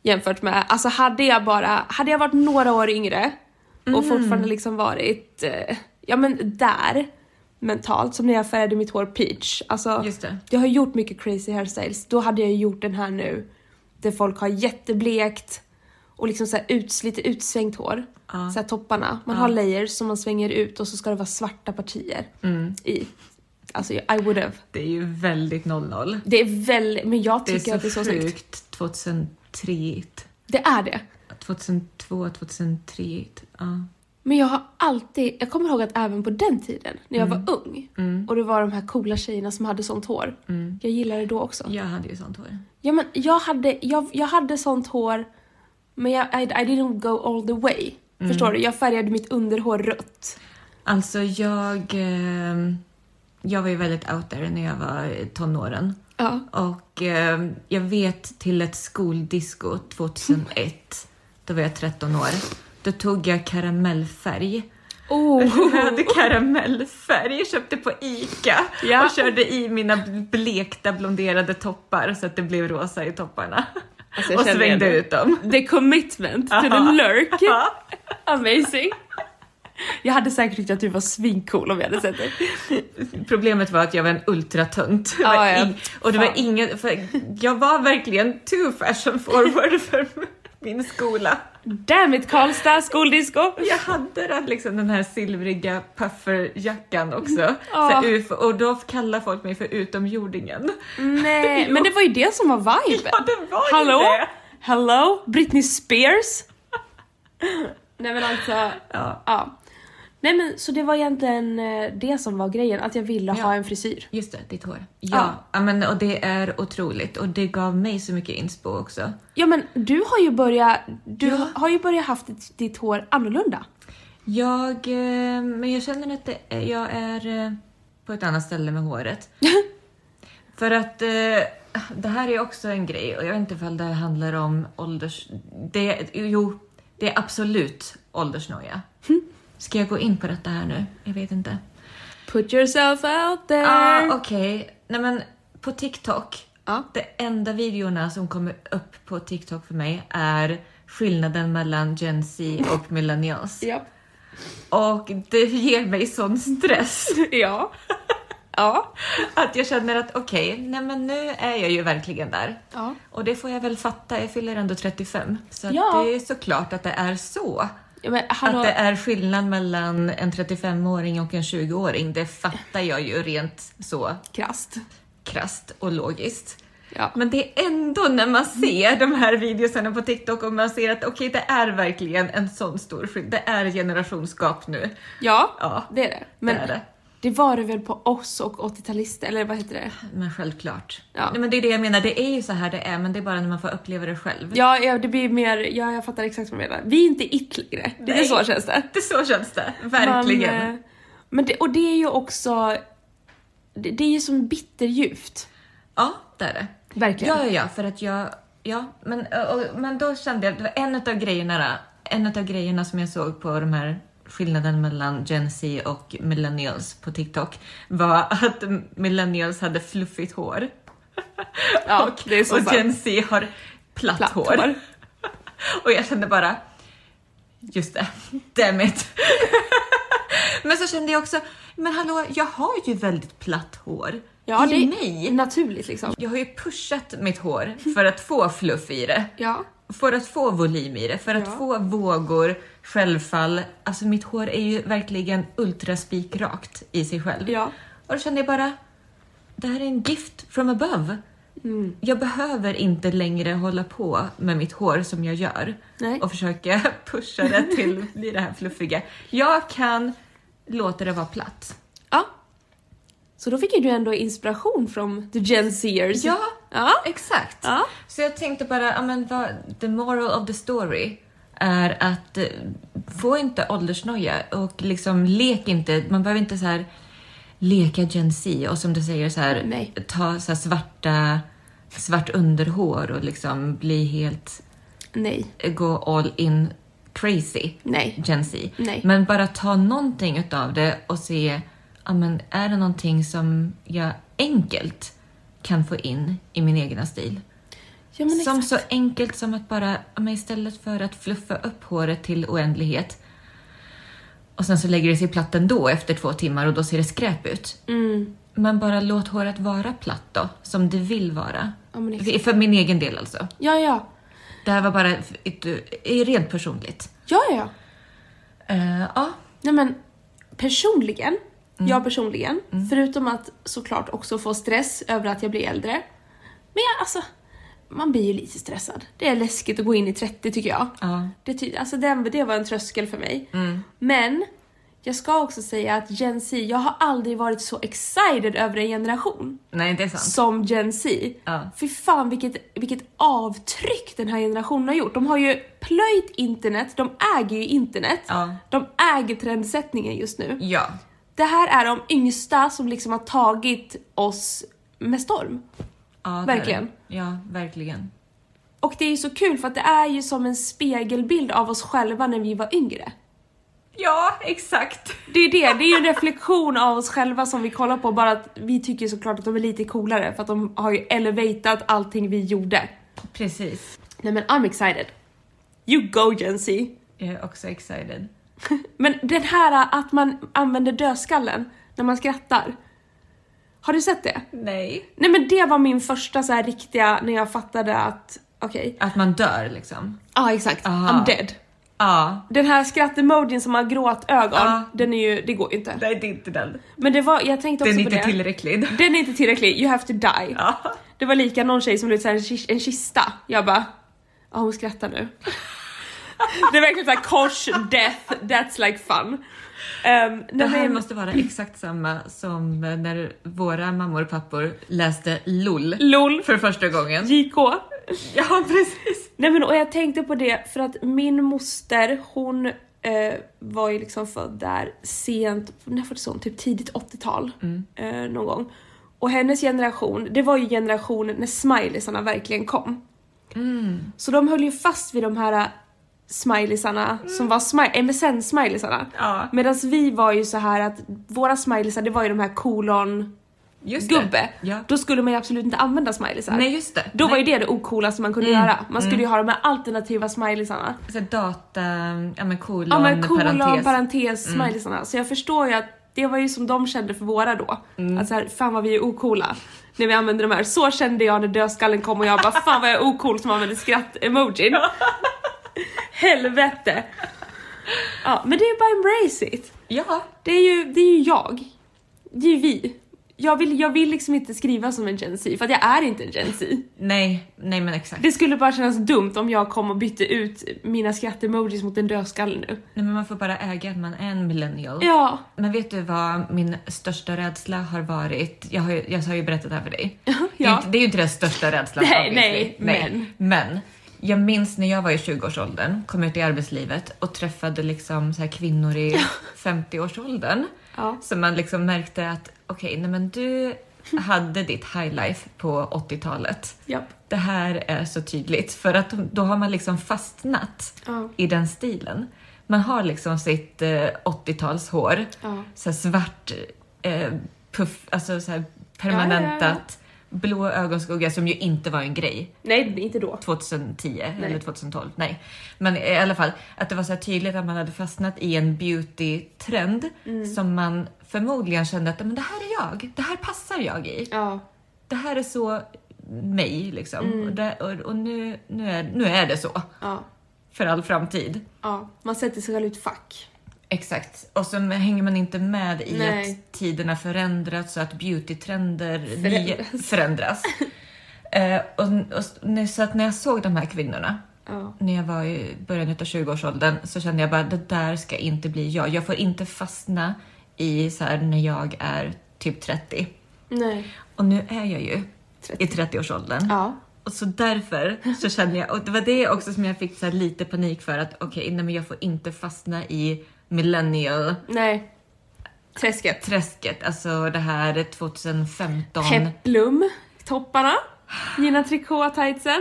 [SPEAKER 2] Jämfört med, alltså hade jag bara, hade jag varit några år yngre och
[SPEAKER 1] Mm.
[SPEAKER 2] fortfarande liksom varit, eh, ja men där mentalt, som när jag färgade mitt hår peach. Alltså,
[SPEAKER 1] Just det.
[SPEAKER 2] jag har gjort mycket crazy hairstyles. Då hade jag ju gjort den här nu. Där folk har jätteblekt och liksom så här uts, lite utsvängt hår.
[SPEAKER 1] Ja.
[SPEAKER 2] Så här topparna. Man har layers som man svänger ut och så ska det vara svarta partier
[SPEAKER 1] Mm.
[SPEAKER 2] i. Alltså I would have.
[SPEAKER 1] Det är ju väldigt 00.
[SPEAKER 2] Det är väldigt, men jag
[SPEAKER 1] Det är
[SPEAKER 2] tycker
[SPEAKER 1] så,
[SPEAKER 2] att det är så snyggt.
[SPEAKER 1] sjukt 2003
[SPEAKER 2] Det är det.
[SPEAKER 1] 2002, 2003 ja.
[SPEAKER 2] Men jag har alltid, jag kommer ihåg att även på den tiden när jag var ung
[SPEAKER 1] Mm.
[SPEAKER 2] och det var de här coola tjejerna som hade sånt hår.
[SPEAKER 1] Mm.
[SPEAKER 2] Jag gillade det då också.
[SPEAKER 1] Jag hade ju sånt hår.
[SPEAKER 2] Ja men jag hade, jag, jag hade sånt hår men jag, I, I didn't go all the way. Förstår du? Jag färgade mitt underhår rött.
[SPEAKER 1] Alltså jag... Eh, jag var ju väldigt out there när jag var i tonåren.
[SPEAKER 2] Ja.
[SPEAKER 1] Och eh, jag vet till ett skoldisco 2001, då var jag 13 år, då tog jag karamellfärg.
[SPEAKER 2] Oh!
[SPEAKER 1] Röd karamellfärg jag köpte på ICA
[SPEAKER 2] Ja.
[SPEAKER 1] och körde i mina blekta blonderade toppar så att det blev rosa i topparna.
[SPEAKER 2] Alltså, jag
[SPEAKER 1] och
[SPEAKER 2] känner
[SPEAKER 1] svängde
[SPEAKER 2] igen det.
[SPEAKER 1] ut dem.
[SPEAKER 2] The commitment to the lurk.
[SPEAKER 1] Ja.
[SPEAKER 2] Amazing. Jag hade säkert tyckt att du var svincool om jag hade sett dig.
[SPEAKER 1] Problemet var att jag var en ultratönt. Det
[SPEAKER 2] Ja,
[SPEAKER 1] var
[SPEAKER 2] ja.
[SPEAKER 1] ing- Och det var
[SPEAKER 2] Fan.
[SPEAKER 1] ingen, för jag var verkligen too fashion forward för min skola.
[SPEAKER 2] Damn it Karlstad, skoldisco!
[SPEAKER 1] Jag hade den, liksom den här silvriga pufferjackan också.
[SPEAKER 2] Ja.
[SPEAKER 1] Så här UFO, och då kallar folk mig för utomjordingen.
[SPEAKER 2] Nej, men det var ju det som var viben.
[SPEAKER 1] Ja, det var ju
[SPEAKER 2] Hallå?
[SPEAKER 1] det!
[SPEAKER 2] Hello? Britney Spears? Nej men alltså,
[SPEAKER 1] Ja,
[SPEAKER 2] Ja. Nej men så det var egentligen eh, det som var grejen, att jag ville
[SPEAKER 1] Ja.
[SPEAKER 2] ha en frisyr.
[SPEAKER 1] just det, ditt hår. Ja,
[SPEAKER 2] Ja.
[SPEAKER 1] ja. men, och det är otroligt och det gav mig så mycket inspo också.
[SPEAKER 2] Ja men du har ju börjat, du
[SPEAKER 1] Ja.
[SPEAKER 2] har ju börjat haft ditt, ditt hår annorlunda.
[SPEAKER 1] Jag, eh, men jag känner att det, är- jag är eh, på ett annat ställe med håret. För att eh, det här är också en grej och jag vet inte ifall det handlar om ålders... Det, jo, det är absolut åldersnoja. Ska jag gå in på detta här nu? Jag vet inte.
[SPEAKER 2] Put yourself out there!
[SPEAKER 1] Ah, Okej, nej men på TikTok.
[SPEAKER 2] Eh. Ja.
[SPEAKER 1] De enda videorna som kommer upp på TikTok för mig är skillnaden mellan Gen Z och millennials.
[SPEAKER 2] Ja.
[SPEAKER 1] Och det ger mig sån stress.
[SPEAKER 2] Ja. ja.
[SPEAKER 1] Att jag känner att okej, nej men nu är jag ju verkligen där.
[SPEAKER 2] Ja.
[SPEAKER 1] Och det får jag väl fatta, jag fyller ändå 35. Så att
[SPEAKER 2] Ja.
[SPEAKER 1] det är såklart att det är så.
[SPEAKER 2] Ja, men
[SPEAKER 1] Att
[SPEAKER 2] hallå,
[SPEAKER 1] det är skillnad mellan en 35-åring och en 20-åring, det fattar jag ju rent så
[SPEAKER 2] krasst.
[SPEAKER 1] krasst och logiskt.
[SPEAKER 2] Ja.
[SPEAKER 1] Men det är ändå när man
[SPEAKER 2] Mm.
[SPEAKER 1] ser de här videosarna på TikTok och man ser att okej, det är verkligen en sån stor skillnad. Det är generationsgap nu.
[SPEAKER 2] ja,
[SPEAKER 1] Ja,
[SPEAKER 2] det är det. Men
[SPEAKER 1] det är det.
[SPEAKER 2] det var det väl på oss och 80-talister, eller vad heter det?
[SPEAKER 1] Men självklart.
[SPEAKER 2] Ja.
[SPEAKER 1] Nej, men det är det jag menar, det är ju så här det är, men det är bara när man får uppleva det själv.
[SPEAKER 2] Ja, ja det blir mer, ja jag fattar exakt vad du menar. Vi är inte it längre. Lite
[SPEAKER 1] Nej.
[SPEAKER 2] så känns det.
[SPEAKER 1] Det så känns det, verkligen.
[SPEAKER 2] Men, eh, men det, och det är ju också, det, det är ju som bitterljuvt.
[SPEAKER 1] Ja, det är det.
[SPEAKER 2] Verkligen.
[SPEAKER 1] Ja, ja, ja, för att jag... Ja, men, och, men då kände jag, det var en av grejerna, en av grejerna som jag såg på de här skillnaden mellan Gen Z och millennials på TikTok var att millennials hade fluffigt hår
[SPEAKER 2] Ja, det är så
[SPEAKER 1] och
[SPEAKER 2] sant.
[SPEAKER 1] Gen Z har platt,
[SPEAKER 2] Platt
[SPEAKER 1] hår.
[SPEAKER 2] hår.
[SPEAKER 1] Och jag kände bara, just det, damn it. men så kände jag också, men hallå, jag har ju väldigt platt hår.
[SPEAKER 2] Ja,
[SPEAKER 1] I
[SPEAKER 2] det är
[SPEAKER 1] mig.
[SPEAKER 2] naturligt liksom.
[SPEAKER 1] Jag har ju pushat mitt hår för att få fluff i det.
[SPEAKER 2] Ja.
[SPEAKER 1] För att få volym i det, för att
[SPEAKER 2] Ja.
[SPEAKER 1] få vågor, självfall. Alltså mitt hår är ju verkligen ultraspikrakt i sig själv.
[SPEAKER 2] Ja.
[SPEAKER 1] Och då kände jag bara, det här är en gift from above.
[SPEAKER 2] Mm.
[SPEAKER 1] Jag behöver inte längre hålla på med mitt hår som jag gör
[SPEAKER 2] Nej.
[SPEAKER 1] och försöka pusha det till att bli det här fluffiga. Jag kan låta det vara platt.
[SPEAKER 2] ja. Så då fick ju du ändå inspiration från the Gen Zers.
[SPEAKER 1] Ja,
[SPEAKER 2] Ja.
[SPEAKER 1] exakt.
[SPEAKER 2] Ja.
[SPEAKER 1] Så jag tänkte bara, ja, men vad, the moral of the story är att eh, få inte åldersnoja och liksom lek inte, man behöver inte så här leka Gen Z och som du säger så här,
[SPEAKER 2] Nej.
[SPEAKER 1] ta så här svarta, svart underhår och liksom bli helt,
[SPEAKER 2] Nej.
[SPEAKER 1] gå all in crazy
[SPEAKER 2] Nej.
[SPEAKER 1] Gen Z.
[SPEAKER 2] Nej.
[SPEAKER 1] Men bara ta någonting utav det och se, ja, men är det någonting som jag enkelt kan få in i min egna stil?
[SPEAKER 2] Ja, men
[SPEAKER 1] Som
[SPEAKER 2] exakt.
[SPEAKER 1] så enkelt som att bara, ja, men istället för att fluffa upp håret till oändlighet och sen så lägger det sig platt ändå efter två timmar och då ser det skräp ut.
[SPEAKER 2] Mm.
[SPEAKER 1] Men bara låt håret vara platt då, som det vill vara.
[SPEAKER 2] Ja, men exakt.
[SPEAKER 1] För- För min egen del alltså.
[SPEAKER 2] Ja, ja.
[SPEAKER 1] Det här var bara ett- ett- rent personligt.
[SPEAKER 2] Ja, ja, ja.
[SPEAKER 1] Eh, ja,
[SPEAKER 2] Nej men personligen, jag personligen, förutom att såklart också få stress över att jag blir äldre. Men jag, alltså, man blir ju lite stressad. Det är läskigt att gå in i 30 tycker jag.
[SPEAKER 1] ja.
[SPEAKER 2] Det, ty- alltså, det, det var en tröskel för mig.
[SPEAKER 1] Mm.
[SPEAKER 2] Men jag ska också säga att Gen Z, jag har aldrig varit så excited över en generation
[SPEAKER 1] Nej, det är sant.
[SPEAKER 2] som Gen Z.
[SPEAKER 1] Ja.
[SPEAKER 2] Fy fan vilket, vilket avtryck den här generationen har gjort. De har ju plöjt internet, de äger ju internet,
[SPEAKER 1] Ja.
[SPEAKER 2] de äger trendsättningen just nu.
[SPEAKER 1] Ja.
[SPEAKER 2] Det här är de yngsta som liksom har tagit oss med storm.
[SPEAKER 1] ja det är
[SPEAKER 2] Verkligen.
[SPEAKER 1] det. Ja, verkligen.
[SPEAKER 2] Och det är ju så kul för att det är ju som en spegelbild av oss själva när vi var yngre.
[SPEAKER 1] Ja, exakt.
[SPEAKER 2] Det är ju det, det är ju en reflektion av oss själva som vi kollar på bara att vi tycker såklart att de är lite coolare för att de har ju elevatat allting vi gjorde.
[SPEAKER 1] Precis.
[SPEAKER 2] Nej men I'm excited. You go Gen Z.
[SPEAKER 1] Jag är också excited.
[SPEAKER 2] Men den här att man använder dödskallen när man skrattar. Har du sett det?
[SPEAKER 1] Nej.
[SPEAKER 2] Nej men det var min första så här riktiga när jag fattade att okej.
[SPEAKER 1] Att man dör liksom.
[SPEAKER 2] Ja ah, exakt,
[SPEAKER 1] Ah.
[SPEAKER 2] I'm dead.
[SPEAKER 1] Ja.
[SPEAKER 2] Den här skrattemodin som har gråtögon,
[SPEAKER 1] Ah.
[SPEAKER 2] den är ju, det går ju inte.
[SPEAKER 1] Nej, det är inte den.
[SPEAKER 2] Men det var, jag tänkte också
[SPEAKER 1] Den är
[SPEAKER 2] på
[SPEAKER 1] inte
[SPEAKER 2] det.
[SPEAKER 1] tillräcklig.
[SPEAKER 2] Den är inte tillräcklig, you have to die.
[SPEAKER 1] Ja.
[SPEAKER 2] Det var lika någon tjej som la ut så här en, kis- en kista. Jag bara, ja hon skrattar nu. det är verkligen såhär kors, death, that's like fun. Um,
[SPEAKER 1] Det här måste vara exakt samma som när våra mammor och pappor läste LOL
[SPEAKER 2] LOL,
[SPEAKER 1] för första gången.
[SPEAKER 2] JK.
[SPEAKER 1] Ja, precis.
[SPEAKER 2] Nej men och jag tänkte på det för att min moster hon eh, var ju liksom född där sent, när föddes hon? Typ tidigt 80-tal
[SPEAKER 1] Mm.
[SPEAKER 2] eh, någon gång. Och hennes generation, det var ju generationen när smileysarna verkligen kom.
[SPEAKER 1] Mm.
[SPEAKER 2] Så de höll ju fast vid de här eh, smileysarna som var smi- MSN-smileysarna.
[SPEAKER 1] Mm. Ja.
[SPEAKER 2] Medan vi var ju så här att våra smileysar det var ju de här kolon-gubbe.
[SPEAKER 1] Just det. Ja.
[SPEAKER 2] Då skulle man ju absolut inte använda smileysar.
[SPEAKER 1] Nej, just det.
[SPEAKER 2] Då var
[SPEAKER 1] Nej.
[SPEAKER 2] ju det det ocoolaste man kunde göra. Man skulle ju ha de här alternativa smileysarna.
[SPEAKER 1] Så här data... Ja, men kolon,
[SPEAKER 2] Ja men kolon,
[SPEAKER 1] parentes.
[SPEAKER 2] parentes, smileysarna. Så jag förstår ju att det var ju som de kände för våra då. Att så här, fan vad vi är ocoola. När vi använde de här. Så kände jag när dödskallen kom och jag bara fan vad jag är ocool som använder skratt-emojin. Helvete! Ja, men det är bara embrace it.
[SPEAKER 1] Ja.
[SPEAKER 2] Det är ju, det är ju jag. Det är ju vi. Jag vill, jag vill liksom inte skriva som en Gen Z, för att jag är inte en Gen Z.
[SPEAKER 1] Nej, nej men exakt.
[SPEAKER 2] Det skulle bara kännas dumt om jag kom och bytte ut mina skratt-emojis mot en dödskalle nu.
[SPEAKER 1] Nej, men man får bara äga att man är en millennial.
[SPEAKER 2] Ja,
[SPEAKER 1] Men vet du vad min största rädsla har varit? Jag har ju, jag har ju berättat det här för dig. Det, är
[SPEAKER 2] ja.
[SPEAKER 1] inte, det är ju inte den största rädslan
[SPEAKER 2] Nej,
[SPEAKER 1] obviously.
[SPEAKER 2] nej,
[SPEAKER 1] Men jag minns när jag var i 20-årsåldern, kom ut i arbetslivet och träffade liksom så här kvinnor i 50-årsåldern.
[SPEAKER 2] Ja.
[SPEAKER 1] Så man liksom märkte att okej, nej men du hade ditt highlife på 80-talet.
[SPEAKER 2] Japp.
[SPEAKER 1] Det här är så tydligt för att då har man liksom fastnat
[SPEAKER 2] Ja.
[SPEAKER 1] i den stilen. Man har liksom sitt eh, 80-talshår,
[SPEAKER 2] Ja.
[SPEAKER 1] så här svart, eh, puff, alltså så här permanentat, blå ögonskugga som ju inte var en grej
[SPEAKER 2] Nej, inte då.
[SPEAKER 1] 2010
[SPEAKER 2] Nej.
[SPEAKER 1] eller 2012. Nej, men i alla fall att det var så här tydligt att man hade fastnat i en beauty-trend som man förmodligen kände att men det här är jag, det här passar jag i
[SPEAKER 2] Ja.
[SPEAKER 1] det här är så mig liksom. Och, det, och, och nu, nu, är, nu är det så.
[SPEAKER 2] Ja.
[SPEAKER 1] För all framtid.
[SPEAKER 2] Ja. Man sätter sig själv i ett fack.
[SPEAKER 1] Exakt. Och så hänger man inte med i
[SPEAKER 2] Nej.
[SPEAKER 1] att tiderna förändrats så att beautytrender
[SPEAKER 2] Förändras.
[SPEAKER 1] nya- förändras. eh, och, och, nu- så att när jag såg de här kvinnorna
[SPEAKER 2] Ja.
[SPEAKER 1] när jag var i början av 20-årsåldern så kände jag bara det där ska inte bli jag. Jag får inte fastna i så här när jag är typ 30.
[SPEAKER 2] Nej.
[SPEAKER 1] Och nu är jag ju i 30-årsåldern.
[SPEAKER 2] Ja.
[SPEAKER 1] Och så därför så kände jag, och det var det också som jag fick så här lite panik för att okej, nej men jag får inte fastna i millennial-träsket.
[SPEAKER 2] Nej. Träsket.
[SPEAKER 1] Alltså det här 2015.
[SPEAKER 2] Peplum. Topparna. Gina Tricot-tightsen.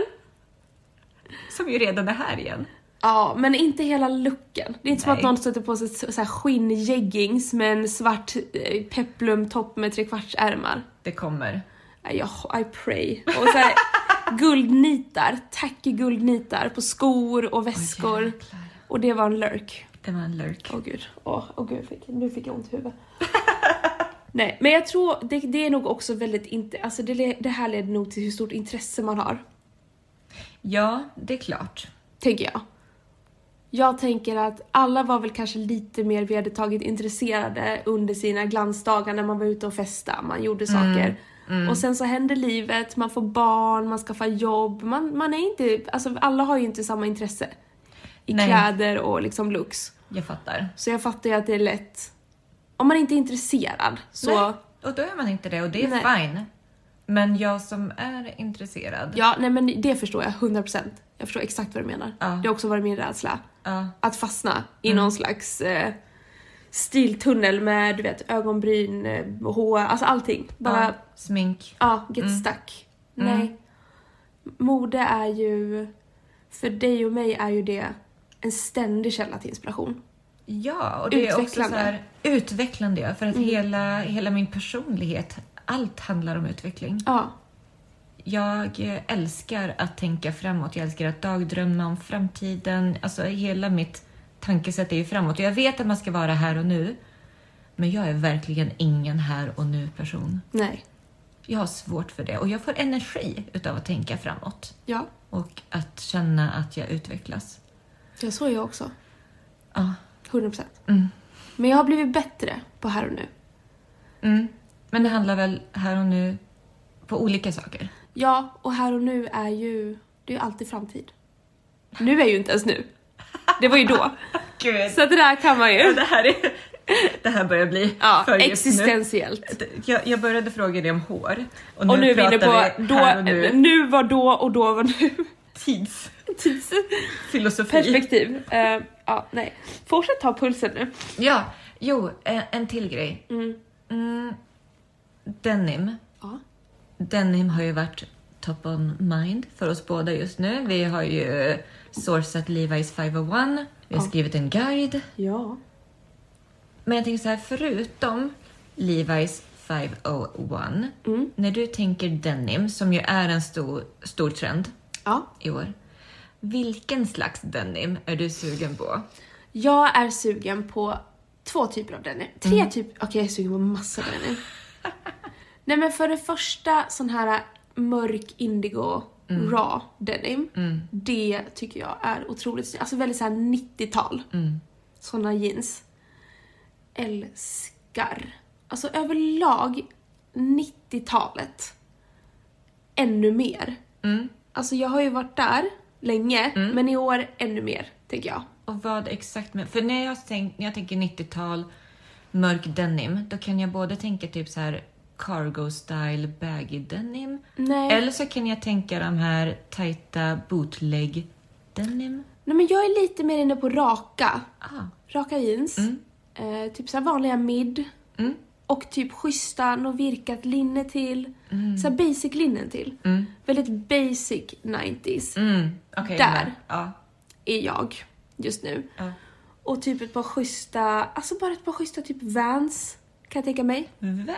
[SPEAKER 1] Som ju redan är här igen.
[SPEAKER 2] Ja, men inte hela looken. Det är inte som
[SPEAKER 1] Nej.
[SPEAKER 2] att någon sätter på sig så så här skinnjeggings med en svart eh, peplumtopp med trekvartsärmar.
[SPEAKER 1] Det kommer.
[SPEAKER 2] Nej, Jag, I pray. Och så här, guldnitar, tacky guldnitar på skor och väskor.
[SPEAKER 1] jäklar.
[SPEAKER 2] och det var en lurk.
[SPEAKER 1] Det var en lurk.
[SPEAKER 2] Åh gud, åh åh gud, jag fick, nu fick jag ont i huvudet. Nej, men jag tror det, det är nog också väldigt inte, alltså det, le- det här leder nog till hur stort intresse man har,
[SPEAKER 1] Ja, det är klart.
[SPEAKER 2] tänker jag. Jag tänker att alla var väl kanske lite mer vedertaget intresserade under sina glansdagar när man var ute och festa, man gjorde
[SPEAKER 1] Mm.
[SPEAKER 2] saker. Och sen så händer livet, man får barn, man skaffar jobb, man, man är inte, alltså alla har ju inte samma intresse i
[SPEAKER 1] Nej.
[SPEAKER 2] kläder och liksom looks.
[SPEAKER 1] Jag fattar.
[SPEAKER 2] Så jag fattar ju att det är lätt, om man inte är intresserad så...
[SPEAKER 1] Nej, och då är man inte det och det är
[SPEAKER 2] Nej.
[SPEAKER 1] fine. Men jag som är intresserad.
[SPEAKER 2] Ja, nej men det förstår jag, 100%. Jag förstår exakt vad du menar.
[SPEAKER 1] Ja.
[SPEAKER 2] Det har också varit min rädsla.
[SPEAKER 1] Ja.
[SPEAKER 2] Att fastna i
[SPEAKER 1] Mm.
[SPEAKER 2] någon slags eh, stiltunnel med du vet, ögonbryn, eh, hår, alltså allting. Bara,
[SPEAKER 1] ja, Mm.
[SPEAKER 2] ja,
[SPEAKER 1] smink.
[SPEAKER 2] get stuck. Nej. Mode är ju, för dig och mig är ju det en ständig källa till inspiration.
[SPEAKER 1] Ja, och det är också så
[SPEAKER 2] Utvecklande. Mm.
[SPEAKER 1] här, utvecklande. ja, För att hela, hela min personlighet, allt handlar om utveckling.
[SPEAKER 2] Ja,
[SPEAKER 1] Jag eh, älskar att tänka framåt. Jag älskar att dagdrömma om framtiden. Alltså hela mitt tankesätt är ju framåt. Och jag vet att man ska vara här och nu. Men jag är verkligen ingen här och nu person.
[SPEAKER 2] nej,
[SPEAKER 1] Jag har svårt för det och jag får energi utav att tänka framåt.
[SPEAKER 2] ja.
[SPEAKER 1] Och att känna att jag utvecklas.
[SPEAKER 2] Ja, så är jag också.
[SPEAKER 1] Ja.
[SPEAKER 2] 100%.
[SPEAKER 1] Mm.
[SPEAKER 2] Men jag har blivit bättre på här och nu.
[SPEAKER 1] Mm. Men det handlar väl här och nu på olika saker.
[SPEAKER 2] Ja, och här och nu är ju, det är ju alltid framtid. Nu är ju inte ens nu. Det var ju då.
[SPEAKER 1] Gud.
[SPEAKER 2] Så att det där kan man ju.
[SPEAKER 1] Det här, är, det här börjar bli
[SPEAKER 2] Ja,
[SPEAKER 1] för djupt
[SPEAKER 2] existentiellt.
[SPEAKER 1] nu. Jag, jag började fråga dig om hår.
[SPEAKER 2] Och nu är vi inne
[SPEAKER 1] pratar
[SPEAKER 2] på
[SPEAKER 1] vi
[SPEAKER 2] då, eh,
[SPEAKER 1] här och nu,
[SPEAKER 2] nu var då och då var nu.
[SPEAKER 1] tidsfilosofi.
[SPEAKER 2] Perspektiv. Eh, ja, nej. Fortsätt ta pulsen nu.
[SPEAKER 1] Ja, jo, en, en till grej.
[SPEAKER 2] Mm.
[SPEAKER 1] Mm, denim.
[SPEAKER 2] Ja.
[SPEAKER 1] Denim har ju varit top on mind för oss båda just nu. Vi har ju sourcat Levi's 501. Vi har
[SPEAKER 2] Ja.
[SPEAKER 1] skrivit en guide.
[SPEAKER 2] Ja.
[SPEAKER 1] Men jag tänker så här, förutom Levi's 501,
[SPEAKER 2] Mm.
[SPEAKER 1] när du tänker denim, som ju är en stor, stor trend
[SPEAKER 2] Ja.
[SPEAKER 1] i år, vilken slags denim är du sugen på?
[SPEAKER 2] Jag är sugen på två typer av denim. Tre
[SPEAKER 1] Mm.
[SPEAKER 2] typer, okej jag är sugen på massa denim. Nej men för det första sån här mörk indigo
[SPEAKER 1] Mm.
[SPEAKER 2] raw
[SPEAKER 1] Mm.
[SPEAKER 2] denim. Det tycker jag är otroligt snyggt. Alltså väldigt såhär 90-tal. sådana jeans. Älskar. Alltså överlag 90-talet. Ännu mer.
[SPEAKER 1] Mm.
[SPEAKER 2] Alltså jag har ju varit där länge,
[SPEAKER 1] Mm.
[SPEAKER 2] men i år ännu mer, tänker jag.
[SPEAKER 1] Och vad exakt, men- för när jag, tänk, när jag tänker 90-tal, mörk denim, då kan jag både tänka typ så här cargo style baggy denim,
[SPEAKER 2] Mm. Nej.
[SPEAKER 1] eller så kan jag tänka de här tajta bootleg denim.
[SPEAKER 2] Nej men jag är lite mer inne på raka.
[SPEAKER 1] Ah.
[SPEAKER 2] Raka jeans.
[SPEAKER 1] Mm.
[SPEAKER 2] Eh, typ såhär vanliga mid.
[SPEAKER 1] Mm.
[SPEAKER 2] Och typ schyssta, något virkat linne till. Såhär basic linnen till.
[SPEAKER 1] Mm.
[SPEAKER 2] Väldigt basic 90s
[SPEAKER 1] Mm. Okej,
[SPEAKER 2] Där.
[SPEAKER 1] men- Ja.
[SPEAKER 2] är jag just nu.
[SPEAKER 1] ja.
[SPEAKER 2] Och typ ett par schyssta, alltså bara ett par schyssta typ Vans kan jag tänka mig.
[SPEAKER 1] Vans.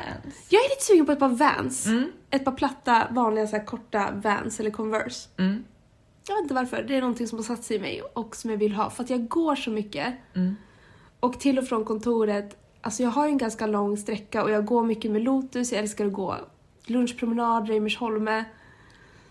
[SPEAKER 2] Jag är lite sugen på ett par Vans.
[SPEAKER 1] Mm.
[SPEAKER 2] Ett par platta, vanliga så här korta Vans eller Converse.
[SPEAKER 1] Mm.
[SPEAKER 2] Jag vet inte varför, det är någonting som har satt sig i mig och som jag vill ha för att jag går så mycket.
[SPEAKER 1] Mm.
[SPEAKER 2] Och till och från kontoret, alltså jag har ju en ganska lång sträcka och jag går mycket med Lotus, jag älskar att gå lunchpromenad, Reimersholme.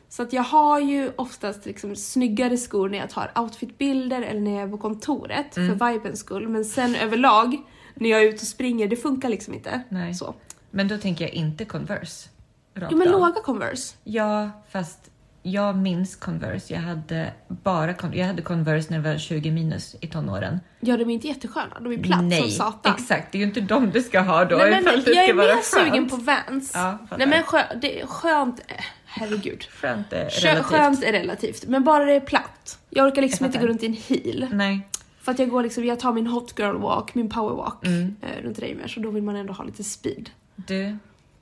[SPEAKER 2] Så att jag har ju oftast liksom snyggare skor när jag tar outfitbilder eller när jag är på kontoret
[SPEAKER 1] Mm.
[SPEAKER 2] för vibens skull. Men sen överlag, när jag är ute och springer, det funkar liksom inte.
[SPEAKER 1] Nej.
[SPEAKER 2] Så.
[SPEAKER 1] Men då tänker jag inte Converse. Rakt
[SPEAKER 2] Jo men
[SPEAKER 1] av.
[SPEAKER 2] låga Converse.
[SPEAKER 1] Ja, fast jag minns Converse. Jag hade bara Con- jag hade Converse när jag var 20 minus i tonåren.
[SPEAKER 2] Ja de är inte jättesköna, de är platt som
[SPEAKER 1] Nej,
[SPEAKER 2] satan.
[SPEAKER 1] exakt. Det är ju inte de du ska ha då.
[SPEAKER 2] Nej, men,
[SPEAKER 1] ifall det
[SPEAKER 2] jag
[SPEAKER 1] ska
[SPEAKER 2] är
[SPEAKER 1] vara
[SPEAKER 2] mer
[SPEAKER 1] skönt.
[SPEAKER 2] sugen på Vans.
[SPEAKER 1] Ja, fattar.
[SPEAKER 2] Nej men skö- det är skönt, eh, herregud.
[SPEAKER 1] Skönt är
[SPEAKER 2] Skö-
[SPEAKER 1] relativt.
[SPEAKER 2] Skönt är relativt, men bara det är platt. Jag orkar liksom
[SPEAKER 1] Jag
[SPEAKER 2] inte gå
[SPEAKER 1] fattar.
[SPEAKER 2] runt i en heel.
[SPEAKER 1] Nej.
[SPEAKER 2] För att jag går liksom, jag tar min hot girl walk, min power walk
[SPEAKER 1] Mm.
[SPEAKER 2] eh, runt Reimers och då vill man ändå ha lite speed.
[SPEAKER 1] Du,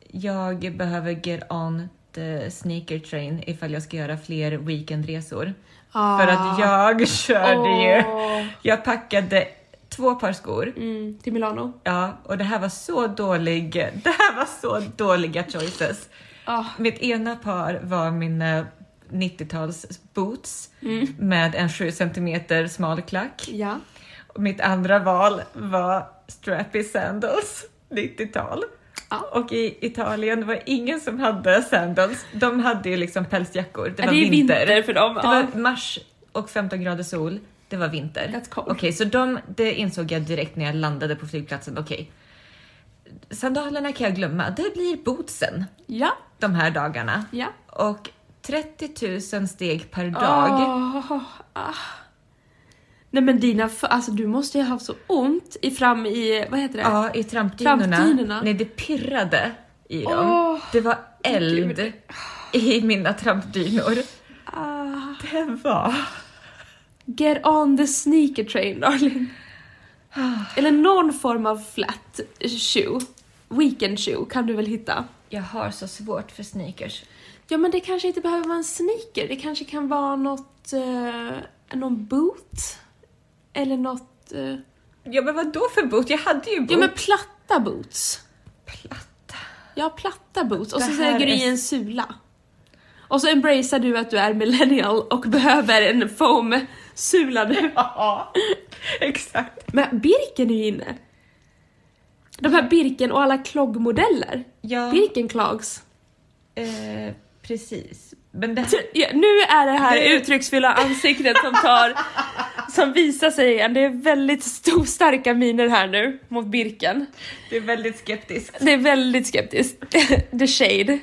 [SPEAKER 1] jag behöver get on the sneaker train ifall jag ska göra fler weekendresor.
[SPEAKER 2] Ah.
[SPEAKER 1] För att jag körde ju.
[SPEAKER 2] Åh.
[SPEAKER 1] Jag packade två par skor.
[SPEAKER 2] Mm, till Milano.
[SPEAKER 1] Ja, och det här var så dålig, det här var så dåliga choices.
[SPEAKER 2] Ah.
[SPEAKER 1] Mitt ena par var mina 90-tals boots
[SPEAKER 2] Mm.
[SPEAKER 1] med en 7 cm smal klack.
[SPEAKER 2] Ja.
[SPEAKER 1] Och mitt andra val var strappy sandals, 90-tal.
[SPEAKER 2] Ja.
[SPEAKER 1] Och i Italien var det ingen som hade sandals. De hade ju liksom pälsjackor. Det
[SPEAKER 2] Ja,
[SPEAKER 1] var
[SPEAKER 2] det är
[SPEAKER 1] vinter.
[SPEAKER 2] vinter för dem.
[SPEAKER 1] Det
[SPEAKER 2] ja.
[SPEAKER 1] var mars och 15 grader sol. Det var vinter.
[SPEAKER 2] That's cold.
[SPEAKER 1] Okej, så de, det insåg jag direkt när jag landade på flygplatsen. Okej, sandalerna kan jag glömma. Det blir bootsen
[SPEAKER 2] Ja,
[SPEAKER 1] de här dagarna.
[SPEAKER 2] ja.
[SPEAKER 1] Och 30 000 steg per dag.
[SPEAKER 2] Åh, ah. Nej men dina, f- alltså du måste ju ha haft så ont i fram i, vad heter det?
[SPEAKER 1] Ja, i trampdynorna.
[SPEAKER 2] Trampdynorna.
[SPEAKER 1] Nej, det pirrade i dem.
[SPEAKER 2] Åh,
[SPEAKER 1] det var eld
[SPEAKER 2] gud.
[SPEAKER 1] i mina trampdynor.
[SPEAKER 2] Ah.
[SPEAKER 1] Det var...
[SPEAKER 2] Get on the sneaker train darling. Eller någon form av flat shoe. Weekend shoe kan du väl hitta?
[SPEAKER 1] Jag har så svårt för sneakers.
[SPEAKER 2] Ja men det kanske inte behöver vara en sneaker, det kanske kan vara något, eh, någon boot. Eller något, eh,
[SPEAKER 1] Ja, men vad då för boot? Jag hade ju boot.
[SPEAKER 2] ja men platta boots.
[SPEAKER 1] Platta.
[SPEAKER 2] Ja, platta boots. Och
[SPEAKER 1] Det
[SPEAKER 2] så
[SPEAKER 1] här
[SPEAKER 2] lägger du i
[SPEAKER 1] är-
[SPEAKER 2] en sula. Och så embracear du att du är millennial och behöver en foam-sula nu.
[SPEAKER 1] Ja, exakt.
[SPEAKER 2] Men Birken är ju inne. De här Birken och alla kloggmodeller.
[SPEAKER 1] Ja,
[SPEAKER 2] Birken clogs.
[SPEAKER 1] eh, precis. Men det här...
[SPEAKER 2] Ja, nu är det här
[SPEAKER 1] Det-
[SPEAKER 2] uttrycksfulla ansiktet som tar, som visar sig igen. Det är väldigt stor, starka miner här nu mot Birken.
[SPEAKER 1] Du är väldigt skeptisk.
[SPEAKER 2] Det är väldigt skeptiskt. The shade.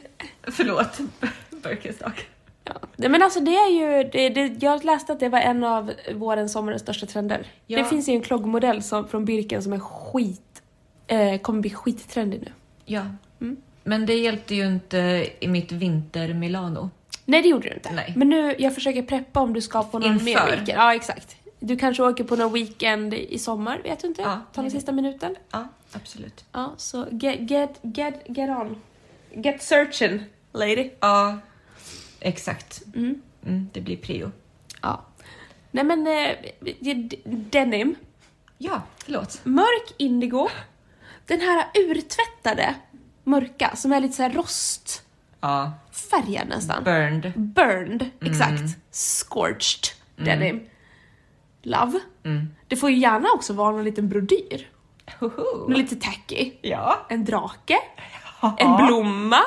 [SPEAKER 1] Förlåt, Birkenstock.
[SPEAKER 2] Ja. Nej, Men alltså det är ju, det, det, jag läste att det var en av vårens, sommarens största trender.
[SPEAKER 1] Ja.
[SPEAKER 2] Det finns ju en kloggmodell som, från Birken som är skit, eh, kommer bli skittrendig nu.
[SPEAKER 1] Ja.
[SPEAKER 2] Mm.
[SPEAKER 1] Men det hjälpte ju inte i mitt vinter-Milano.
[SPEAKER 2] Nej det gjorde du inte.
[SPEAKER 1] Nej.
[SPEAKER 2] Men nu, jag försöker preppa om du ska på någon
[SPEAKER 1] Inför.
[SPEAKER 2] mer weekend. Ja exakt. Du kanske åker på någon weekend i sommar, vet du inte?
[SPEAKER 1] Ja,
[SPEAKER 2] Ta
[SPEAKER 1] nej.
[SPEAKER 2] den sista minuten.
[SPEAKER 1] Ja, absolut.
[SPEAKER 2] Ja, så get, get, get, get on. Get searching, lady.
[SPEAKER 1] Ja, exakt.
[SPEAKER 2] Mm.
[SPEAKER 1] Mm, det blir prio.
[SPEAKER 2] Ja. Nej men, eh, d- denim.
[SPEAKER 1] Ja, förlåt.
[SPEAKER 2] Mörk indigo. Den här urtvättade mörka som är lite så här rostfärgad
[SPEAKER 1] Ja,
[SPEAKER 2] nästan.
[SPEAKER 1] burned.
[SPEAKER 2] Burned,
[SPEAKER 1] Mm.
[SPEAKER 2] exakt. Scorched denim. Love.
[SPEAKER 1] Mm.
[SPEAKER 2] Det får ju gärna också vara någon liten brodyr.
[SPEAKER 1] Hoho.
[SPEAKER 2] Någon lite tacky.
[SPEAKER 1] Ja.
[SPEAKER 2] En drake. En blomma.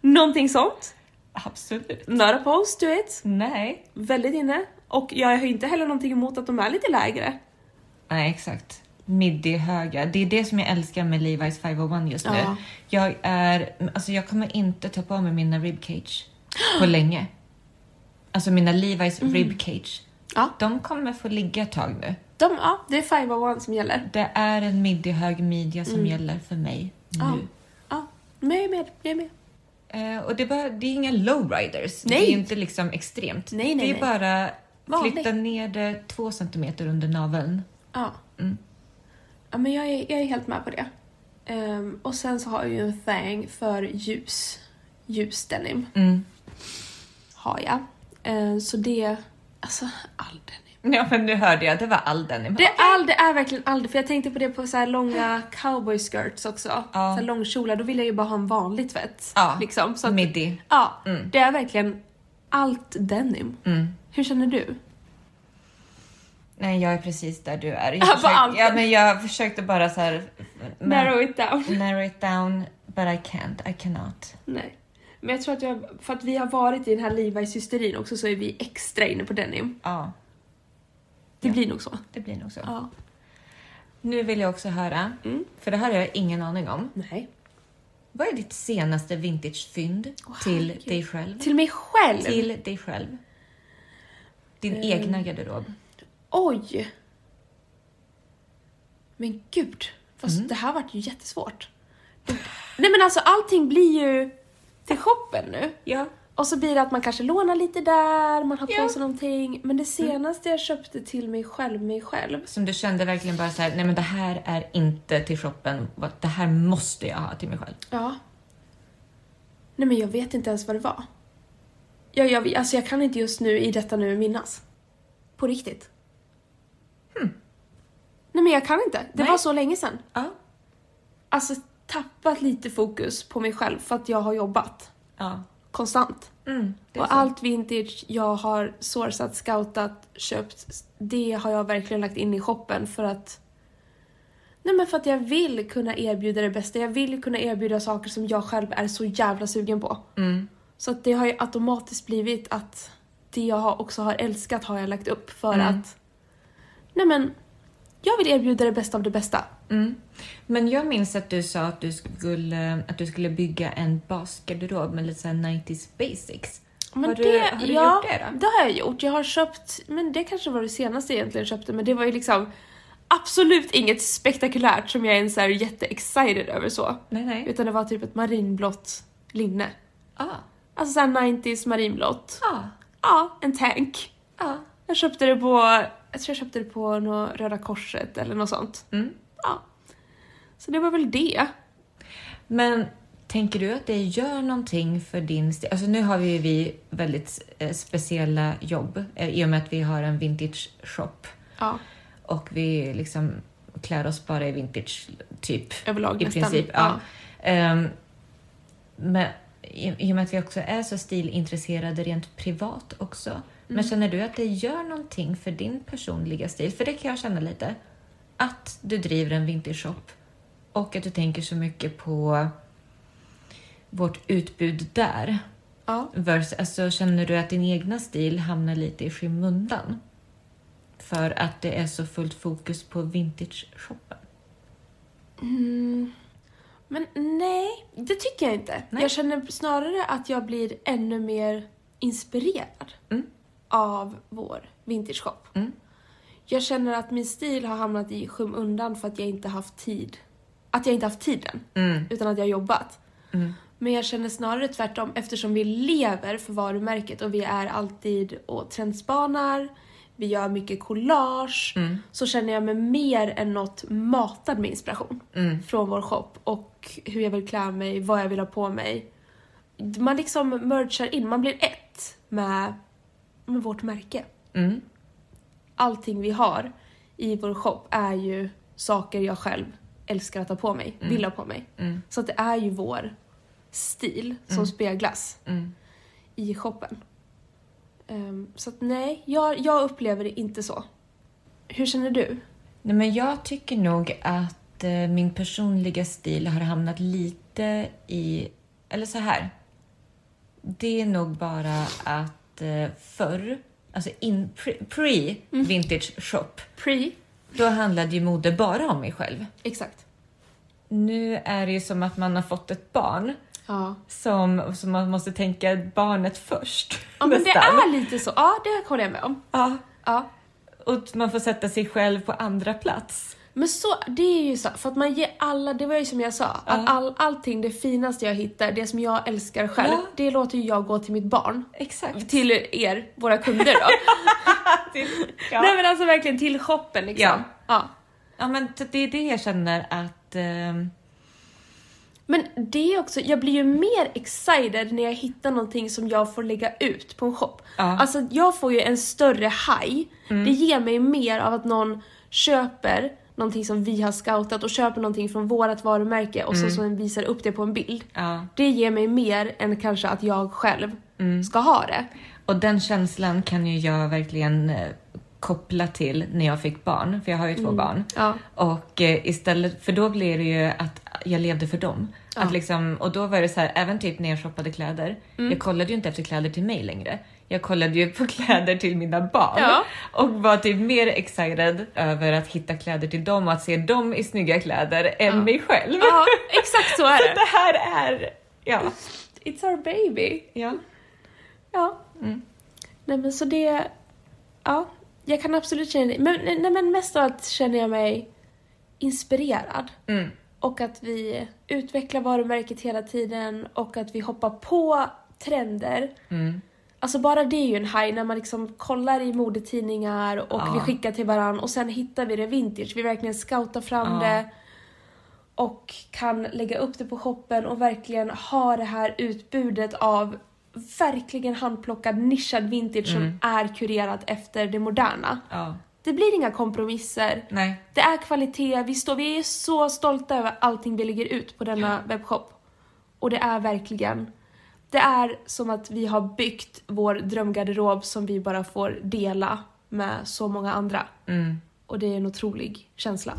[SPEAKER 2] Någonting sånt.
[SPEAKER 1] Absolut.
[SPEAKER 2] Not opposed to it.
[SPEAKER 1] Nej.
[SPEAKER 2] Väldigt inne. Och jag har ju inte heller någonting emot att de är lite lägre.
[SPEAKER 1] Nej, exakt. Midi-höga. Det är det som jag älskar med Levi's 501 just nu.
[SPEAKER 2] Ja.
[SPEAKER 1] Jag är, alltså jag kommer inte ta på mig mina ribcage på länge. Alltså mina Levi's ribcage.
[SPEAKER 2] Ja.
[SPEAKER 1] De kommer få ligga ett tag nu.
[SPEAKER 2] De, ja, det är 501 som gäller.
[SPEAKER 1] Det är en midi-hög midja som gäller för mig nu.
[SPEAKER 2] Ja. Ja, men jag är med. Jag är med.
[SPEAKER 1] Eh, och det, bara, det är inga lowriders.
[SPEAKER 2] Nej.
[SPEAKER 1] Det är inte liksom extremt.
[SPEAKER 2] Nej, nej,
[SPEAKER 1] det är
[SPEAKER 2] nej.
[SPEAKER 1] bara
[SPEAKER 2] Vanligt.
[SPEAKER 1] flytta ner det två centimeter under naveln.
[SPEAKER 2] Ja.
[SPEAKER 1] Mm.
[SPEAKER 2] Ja, men jag är, jag är helt med på det. Ehm, och sen så har jag ju en thang för ljus, ljus denim.
[SPEAKER 1] Mm.
[SPEAKER 2] Har jag. Ehm, så det, alltså all denim.
[SPEAKER 1] Ja, men nu hörde jag. Det var all denim.
[SPEAKER 2] Det är, all, det är verkligen all för jag tänkte på det på så här långa cowboy skirts också. Så här långkjolar, då vill jag ju bara ha en vanlig tvätt.
[SPEAKER 1] Ja. Mm.
[SPEAKER 2] Liksom, så att,
[SPEAKER 1] Midi.
[SPEAKER 2] ja
[SPEAKER 1] Mm,
[SPEAKER 2] Det är verkligen allt denim. Hur känner du?
[SPEAKER 1] Nej, jag är precis där du är. Jag,
[SPEAKER 2] på allt.
[SPEAKER 1] försökte, ja, men jag försökte bara så här... men-
[SPEAKER 2] Narrow it down.
[SPEAKER 1] narrow it down, but I can't. I cannot.
[SPEAKER 2] Nej. Men jag tror att jag, för att vi har varit i den här Levi's hysterin också så är vi extra inne på denim.
[SPEAKER 1] Ja,
[SPEAKER 2] Det blir nog så.
[SPEAKER 1] det blir nog så.
[SPEAKER 2] Ja.
[SPEAKER 1] Nu vill jag också höra,
[SPEAKER 2] Mm.
[SPEAKER 1] för det här har jag ingen aning om.
[SPEAKER 2] Nej.
[SPEAKER 1] Vad är ditt senaste vintagefynd till
[SPEAKER 2] herregud.
[SPEAKER 1] dig själv?
[SPEAKER 2] Till mig själv?
[SPEAKER 1] Till Eh, dig själv. Din egna garderob.
[SPEAKER 2] Oj! Men gud, fast det här vart ju jättesvårt. Nej men alltså allting blir ju till shoppen nu.
[SPEAKER 1] Ja.
[SPEAKER 2] Och så blir det att man kanske lånar lite där, man har på
[SPEAKER 1] Ja.
[SPEAKER 2] sig någonting. Men det senaste jag köpte till mig själv, mig själv.
[SPEAKER 1] Som du kände verkligen bara så här, nej men det här är inte till shoppen. Vad- Det här måste jag ha till mig själv.
[SPEAKER 2] Ja. Nej men jag vet inte ens vad det var. Jag, jag, alltså jag kan inte just nu i detta nu minnas. På riktigt. Nej men jag kan inte. Det
[SPEAKER 1] Nej.
[SPEAKER 2] var så länge sedan.
[SPEAKER 1] Ja.
[SPEAKER 2] Alltså tappat lite fokus på mig själv för att jag har jobbat
[SPEAKER 1] Ja.
[SPEAKER 2] konstant.
[SPEAKER 1] Mm, det är
[SPEAKER 2] Och
[SPEAKER 1] så.
[SPEAKER 2] allt vintage jag har sourcat, scoutat, köpt, det har jag verkligen lagt in i shoppen för att Nej men för att jag vill kunna erbjuda det bästa. Jag vill kunna erbjuda saker som jag själv är så jävla sugen på.
[SPEAKER 1] Mm.
[SPEAKER 2] Så att det har ju automatiskt blivit att det jag har- också har älskat har jag lagt upp för
[SPEAKER 1] Mm.
[SPEAKER 2] att Nej men, jag vill erbjuda det bästa av det bästa.
[SPEAKER 1] Mm. Men jag minns att du sa att du skulle, att du skulle bygga en basgarderob med lite så här 90s basics.
[SPEAKER 2] Men
[SPEAKER 1] har du, har du
[SPEAKER 2] ja,
[SPEAKER 1] gjort det då?
[SPEAKER 2] Det har jag gjort. Jag har köpt, men det kanske var det senaste jag egentligen köpte, men det var ju liksom absolut inget spektakulärt som jag ens är jätteexcited över så.
[SPEAKER 1] Nej, nej.
[SPEAKER 2] Utan det var typ ett marinblått linne.
[SPEAKER 1] Ja.
[SPEAKER 2] Alltså såhär 90s marinblått.
[SPEAKER 1] Ja.
[SPEAKER 2] Ja, en tank.
[SPEAKER 1] Ja.
[SPEAKER 2] Jag köpte det på, jag tror jag köpte det på nå Röda Korset eller något sånt.
[SPEAKER 1] Mm.
[SPEAKER 2] Ja. Så det var väl det.
[SPEAKER 1] Men tänker du att det gör någonting för din stil? Alltså nu har vi ju vi väldigt eh, speciella jobb eh, i och med att vi har en vintage shop
[SPEAKER 2] Ja,
[SPEAKER 1] och vi liksom klär oss bara i vintage typ
[SPEAKER 2] överlag
[SPEAKER 1] i
[SPEAKER 2] nästan.
[SPEAKER 1] princip. Ja. Ehm, men i, i och med att vi också är så stilintresserade rent privat också. Men
[SPEAKER 2] Mm.
[SPEAKER 1] känner du att det gör någonting för din personliga stil? För det kan jag känna lite. Att du driver en vintage-shop och att du tänker så mycket på vårt utbud där.
[SPEAKER 2] ja.
[SPEAKER 1] Vers, alltså, känner du att din egna stil hamnar lite i skymundan? För att det är så fullt fokus på vintage-shoppen.
[SPEAKER 2] Mm. Men nej, det tycker jag inte.
[SPEAKER 1] Nej.
[SPEAKER 2] Jag känner snarare att jag blir ännu mer inspirerad
[SPEAKER 1] Mm.
[SPEAKER 2] av vår vintageshop.
[SPEAKER 1] Mm.
[SPEAKER 2] Jag känner att min stil har hamnat i skymundan för att jag inte haft tid. Att jag inte haft tiden,
[SPEAKER 1] Mm.
[SPEAKER 2] utan att jag har jobbat.
[SPEAKER 1] Mm.
[SPEAKER 2] Men jag känner snarare tvärtom eftersom vi lever för varumärket och vi är alltid och trendspanar, vi gör mycket collage,
[SPEAKER 1] Mm.
[SPEAKER 2] så känner jag mig mer än något matad med inspiration
[SPEAKER 1] Mm.
[SPEAKER 2] från vår shop och hur jag vill klä mig, vad jag vill ha på mig. Man liksom merchar in, man blir ett med, med vårt märke.
[SPEAKER 1] Mm.
[SPEAKER 2] Allting vi har i vår shop är ju saker jag själv älskar att ha på mig, vill ha på mig.
[SPEAKER 1] Mm.
[SPEAKER 2] Så att det är ju vår stil som speglas
[SPEAKER 1] Mm.
[SPEAKER 2] i shoppen. Ehm, så att nej, jag, jag upplever det inte så. Hur känner du?
[SPEAKER 1] Nej, men jag tycker nog att eh, min personliga stil har hamnat lite i... Eller så här. Det är nog bara att eh, förr, alltså in pre- pre-vintage shop,
[SPEAKER 2] Pre?
[SPEAKER 1] Då handlade ju mode bara om mig själv.
[SPEAKER 2] Exakt.
[SPEAKER 1] Nu är det ju som att man har fått ett barn
[SPEAKER 2] Ja.
[SPEAKER 1] som, som man måste tänka barnet först.
[SPEAKER 2] ja men det
[SPEAKER 1] nästan.
[SPEAKER 2] är lite så. Ja, det håller jag med om.
[SPEAKER 1] Ja,
[SPEAKER 2] Ja.
[SPEAKER 1] och man får sätta sig själv på andra plats.
[SPEAKER 2] Men så, det är ju så, för att man ger alla, det var ju som jag sa, att all, allting det finaste jag hittar, det som jag älskar själv,
[SPEAKER 1] Ja.
[SPEAKER 2] det låter ju jag gå till mitt barn.
[SPEAKER 1] Exakt.
[SPEAKER 2] Till er, våra kunder då.
[SPEAKER 1] ja.
[SPEAKER 2] Nej men alltså verkligen till shoppen liksom.
[SPEAKER 1] Ja.
[SPEAKER 2] ja.
[SPEAKER 1] ja, men så det är det jag känner att... ehm,
[SPEAKER 2] Men det är också, jag blir ju mer excited när jag hittar någonting som jag får lägga ut på en shop.
[SPEAKER 1] Ja. Mm.
[SPEAKER 2] Alltså jag får ju en större high. Det ger mig mer av att någon köper någonting som vi har scoutat och köper någonting från vårt varumärke och så, så den visar upp det på en bild.
[SPEAKER 1] Mm. ja.
[SPEAKER 2] Det ger mig mer än kanske att jag själv ska ha det.
[SPEAKER 1] Och den känslan kan ju jag verkligen eh, koppla till när jag fick barn, för jag har ju två barn.
[SPEAKER 2] Mm. Ja.
[SPEAKER 1] Och eh, istället, för då blir det ju att jag levde för dem.
[SPEAKER 2] Ja. Mm.
[SPEAKER 1] Att liksom, och då var det så här, även typ när jag shoppade kläder. Jag kollade ju inte efter kläder till mig längre. Jag kollade ju på kläder till mina barn.
[SPEAKER 2] Ja.
[SPEAKER 1] Och var typ mer excited över att hitta kläder till dem och att se dem i snygga kläder än mig själv.
[SPEAKER 2] ja, exakt så är det.
[SPEAKER 1] Det här är... Ja.
[SPEAKER 2] It's our baby.
[SPEAKER 1] ja.
[SPEAKER 2] Ja. Nej men så det... Ja, jag kan absolut känna det. Men, nej, men mest av allt känner jag mig inspirerad.
[SPEAKER 1] Mm.
[SPEAKER 2] Och att vi utvecklar varumärket hela tiden och att vi hoppar på trender.
[SPEAKER 1] Mm.
[SPEAKER 2] Alltså bara det är ju en high när man liksom kollar i modetidningar och
[SPEAKER 1] Ja.
[SPEAKER 2] vi skickar till varandra och sen hittar vi det vintage. Vi verkligen scoutar fram
[SPEAKER 1] Ja.
[SPEAKER 2] det och kan lägga upp det på shoppen och verkligen ha det här utbudet av verkligen handplockad nischad vintage
[SPEAKER 1] Mm.
[SPEAKER 2] som är kurerat efter det moderna.
[SPEAKER 1] ja.
[SPEAKER 2] Det blir inga kompromisser.
[SPEAKER 1] Nej.
[SPEAKER 2] Det är kvalitet, vi, står, vi är så stolta över allting vi lägger ut på denna webbshop. Och det är verkligen, det är som att vi har byggt vår drömgarderob som vi bara får dela med så många andra.
[SPEAKER 1] Mm.
[SPEAKER 2] Och det är en otrolig känsla.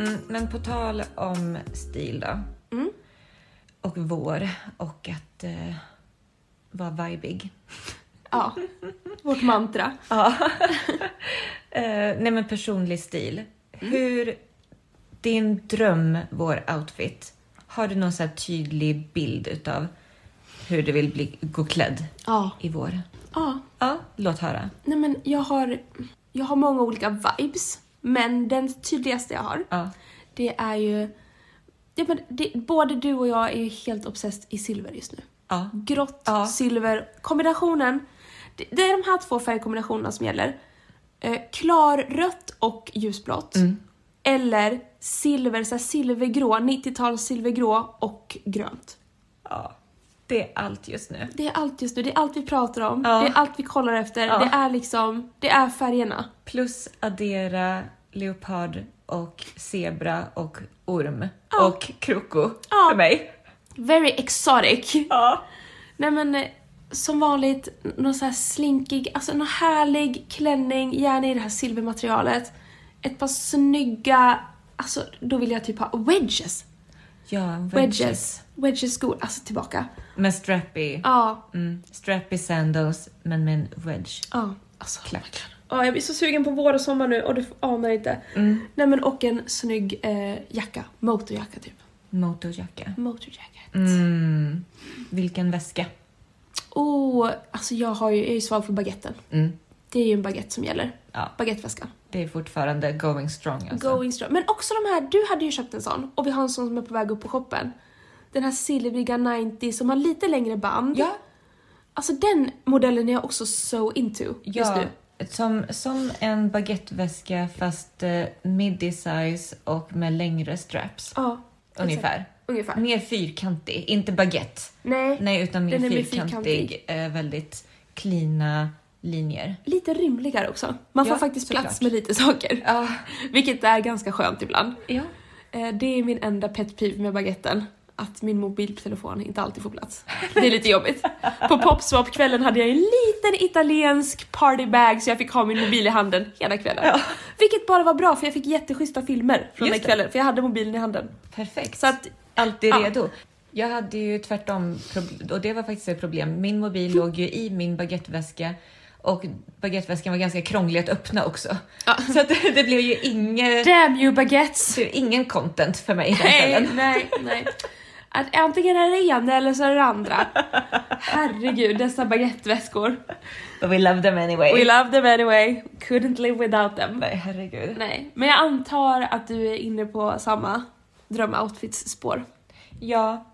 [SPEAKER 1] Mm, men på tal om stil då.
[SPEAKER 2] Mm.
[SPEAKER 1] Och vår och att eh, vara vibig.
[SPEAKER 2] Ja, vårt mantra.
[SPEAKER 1] Eh, nej men personlig stil. Hur, din dröm, vår outfit. Har du någon så här tydlig bild utav hur du vill bli, gå klädd
[SPEAKER 2] Ja.
[SPEAKER 1] i vår?
[SPEAKER 2] ja.
[SPEAKER 1] Ja, låt höra.
[SPEAKER 2] Nej men jag har, jag har många olika vibes, men den tydligaste jag har
[SPEAKER 1] Ja.
[SPEAKER 2] Det är ju... Ja, men det, både du och jag är ju helt obsessed i silver just nu.
[SPEAKER 1] Ja.
[SPEAKER 2] Grått,
[SPEAKER 1] Ja.
[SPEAKER 2] silver, kombinationen. Det, det är de här två färgkombinationerna som gäller. Eh, klarrött och ljusblått.
[SPEAKER 1] Mm.
[SPEAKER 2] Eller silver, så här silvergrå, 90-tal silvergrå och grönt.
[SPEAKER 1] ja. Det är allt just nu.
[SPEAKER 2] Det är allt just nu, det är allt vi pratar om,
[SPEAKER 1] Ja.
[SPEAKER 2] det är allt vi kollar efter,
[SPEAKER 1] Ja.
[SPEAKER 2] det är liksom, det är färgerna.
[SPEAKER 1] Plus addera leopard och zebra och orm
[SPEAKER 2] Ja.
[SPEAKER 1] och kroko
[SPEAKER 2] Ja.
[SPEAKER 1] för mig.
[SPEAKER 2] Very exotic.
[SPEAKER 1] Ja.
[SPEAKER 2] Nej men eh, som vanligt, n- någon så här slinkig, alltså någon härlig klänning, gärna i det här silvermaterialet. Ett par snygga, alltså då vill jag typ ha wedges.
[SPEAKER 1] Ja, wedges.
[SPEAKER 2] Wedges. Wedges skor, alltså tillbaka.
[SPEAKER 1] Med strappy.
[SPEAKER 2] Ja,
[SPEAKER 1] Mm. Strappy sandals, men med en wedge.
[SPEAKER 2] ja, alltså.
[SPEAKER 1] Klack.
[SPEAKER 2] Ja, jag blir så sugen på vår och sommar nu och du anar inte.
[SPEAKER 1] Mm.
[SPEAKER 2] Nej men och en snygg eh, jacka, motorjacka typ.
[SPEAKER 1] Motorjacka.
[SPEAKER 2] Motorjacket.
[SPEAKER 1] Mm. Vilken väska.
[SPEAKER 2] Och alltså jag, har ju, jag är ju svag för baguetten.
[SPEAKER 1] Mm.
[SPEAKER 2] Det är ju en baguette som gäller.
[SPEAKER 1] Ja.
[SPEAKER 2] Baguetteväskan.
[SPEAKER 1] Det är fortfarande going strong alltså.
[SPEAKER 2] Going strong. Men också de här, du hade ju köpt en sån och vi har en sån som är på väg upp på shoppen. Den här silvriga 90 som har lite längre band.
[SPEAKER 1] Ja,
[SPEAKER 2] Alltså den modellen är jag också so into just
[SPEAKER 1] ja.
[SPEAKER 2] nu.
[SPEAKER 1] Som, som en baguetteväska fast eh, midi size och med längre straps.
[SPEAKER 2] Ja,
[SPEAKER 1] Ungefär.
[SPEAKER 2] ungefär.
[SPEAKER 1] Mer fyrkantig, inte baguette.
[SPEAKER 2] Nej.
[SPEAKER 1] Nej, utan mer
[SPEAKER 2] Den är mer
[SPEAKER 1] fyrkantig. Eh, väldigt cleana linjer.
[SPEAKER 2] Lite rymligare också. Man får
[SPEAKER 1] Ja,
[SPEAKER 2] faktiskt
[SPEAKER 1] såklart.
[SPEAKER 2] plats med lite saker.
[SPEAKER 1] Ja.
[SPEAKER 2] Vilket är ganska skönt ibland.
[SPEAKER 1] ja.
[SPEAKER 2] Eh, Det är min enda pet peeve med baguetten. att min mobiltelefon inte alltid får plats. Det är lite jobbigt. På Popswap-kvällen hade jag en liten italiensk partybag så jag fick ha min mobil i handen hela kvällen.
[SPEAKER 1] Ja.
[SPEAKER 2] Vilket bara var bra för jag fick jätteschyssta filmer från
[SPEAKER 1] Just
[SPEAKER 2] den
[SPEAKER 1] det.
[SPEAKER 2] kvällen för jag hade mobilen i handen.
[SPEAKER 1] Perfekt.
[SPEAKER 2] Så att,
[SPEAKER 1] Alltid
[SPEAKER 2] Ja.
[SPEAKER 1] redo. Jag hade ju tvärtom, prob- och det var faktiskt ett problem. Min mobil låg ju i min baguetteväska och baguetteväskan var ganska krånglig att öppna också.
[SPEAKER 2] Ja.
[SPEAKER 1] Så att det, det blev ju inget,
[SPEAKER 2] damn you baguettes!
[SPEAKER 1] det blev ingen content för mig den
[SPEAKER 2] Nej,
[SPEAKER 1] kvällen.
[SPEAKER 2] nej, nej. Att antingen är det ena eller så är det det andra. Herregud, dessa baguetteväskor.
[SPEAKER 1] But we love them anyway.
[SPEAKER 2] We love them anyway, couldn't live without them.
[SPEAKER 1] Nej, herregud.
[SPEAKER 2] Nej, men jag antar att du är inne på samma drömoutfits-spår.
[SPEAKER 1] Ja.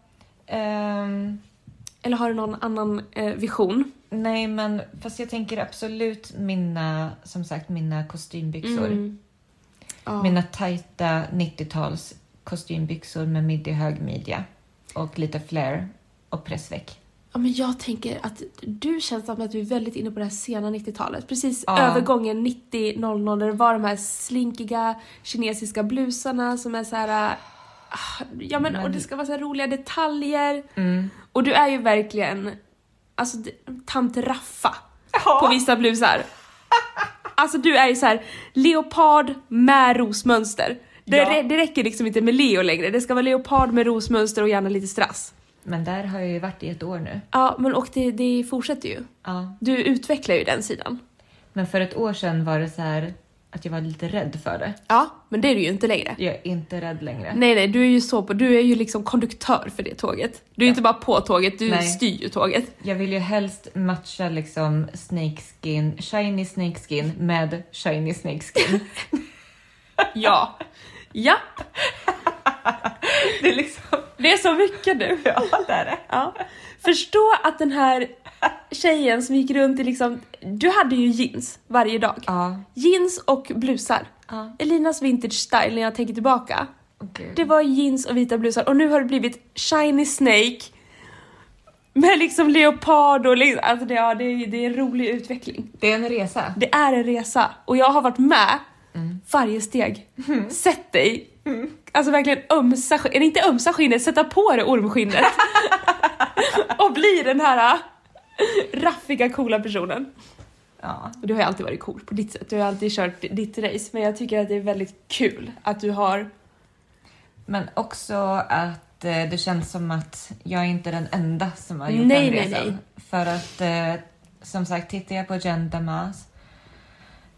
[SPEAKER 1] ehm,
[SPEAKER 2] Eller har du någon annan eh, vision?
[SPEAKER 1] nej, men fast jag tänker absolut mina, som sagt, mina kostymbyxor.
[SPEAKER 2] Mm. Ja.
[SPEAKER 1] Mina tajta 90-tals kostymbyxor med middig hög midja och lite flare och pressväck.
[SPEAKER 2] ja, men jag tänker att du känns som att du är väldigt inne på det här sena 90-talet. Precis
[SPEAKER 1] Ja.
[SPEAKER 2] övergången 90-00 där det var de här slinkiga kinesiska blusarna som är så här... äh, ah, Ja men, och
[SPEAKER 1] Men-
[SPEAKER 2] det ska vara så här roliga detaljer.
[SPEAKER 1] Mm.
[SPEAKER 2] Och du är ju verkligen, alltså d- tant Raffa. på
[SPEAKER 1] Ja.
[SPEAKER 2] vissa blusar. Alltså du är ju så här leopard med rosmönster. Det,
[SPEAKER 1] Ja.
[SPEAKER 2] rä- det räcker liksom inte med leo längre, det ska vara leopard med rosmönster och gärna lite strass.
[SPEAKER 1] Men där har jag ju varit i ett år nu.
[SPEAKER 2] Ja, men och det, det fortsätter ju.
[SPEAKER 1] Ja.
[SPEAKER 2] Du utvecklar ju den sidan.
[SPEAKER 1] Men för ett år sedan var det så här att jag var lite rädd för det.
[SPEAKER 2] Ja, men det är du ju inte längre.
[SPEAKER 1] Jag är inte rädd längre.
[SPEAKER 2] Nej, nej, du är ju så på, du är ju liksom konduktör för det tåget. Du är ju inte bara på tåget, du
[SPEAKER 1] Nej.
[SPEAKER 2] styr ju tåget.
[SPEAKER 1] Jag vill ju helst matcha liksom snakeskin, shiny snakeskin med shiny snakeskin.
[SPEAKER 2] Ja. Ja,
[SPEAKER 1] det är liksom...
[SPEAKER 2] det är så mycket nu.
[SPEAKER 1] Ja, det är det.
[SPEAKER 2] Ja. Förstå att den här tjejen som gick runt i liksom... Du hade ju jeans varje dag.
[SPEAKER 1] Ja.
[SPEAKER 2] Jeans och blusar.
[SPEAKER 1] Ja.
[SPEAKER 2] Elinas vintage style när jag tänker tillbaka. Det
[SPEAKER 1] Okay.
[SPEAKER 2] var jeans och vita blusar och nu har det blivit shiny snake. Med liksom leopard och liksom, alltså det, ja, det, är, det är en rolig utveckling.
[SPEAKER 1] Det är en resa.
[SPEAKER 2] Det är en resa och jag har varit med varje steg. Sett dig, alltså verkligen ömsa, sk- eller inte ömsa skinnet, sätta på dig ormskinnet. och bli den här äh, raffiga coola personen.
[SPEAKER 1] Ja.
[SPEAKER 2] Och du har ju alltid varit cool på ditt sätt, du har alltid kört ditt race men jag tycker att det är väldigt kul att du har
[SPEAKER 1] Men också att eh, det känns som att jag är inte den enda som har gjort
[SPEAKER 2] Nej,
[SPEAKER 1] den
[SPEAKER 2] nej,
[SPEAKER 1] resan.
[SPEAKER 2] nej.
[SPEAKER 1] För att eh, som sagt, tittar jag på Jen Damas,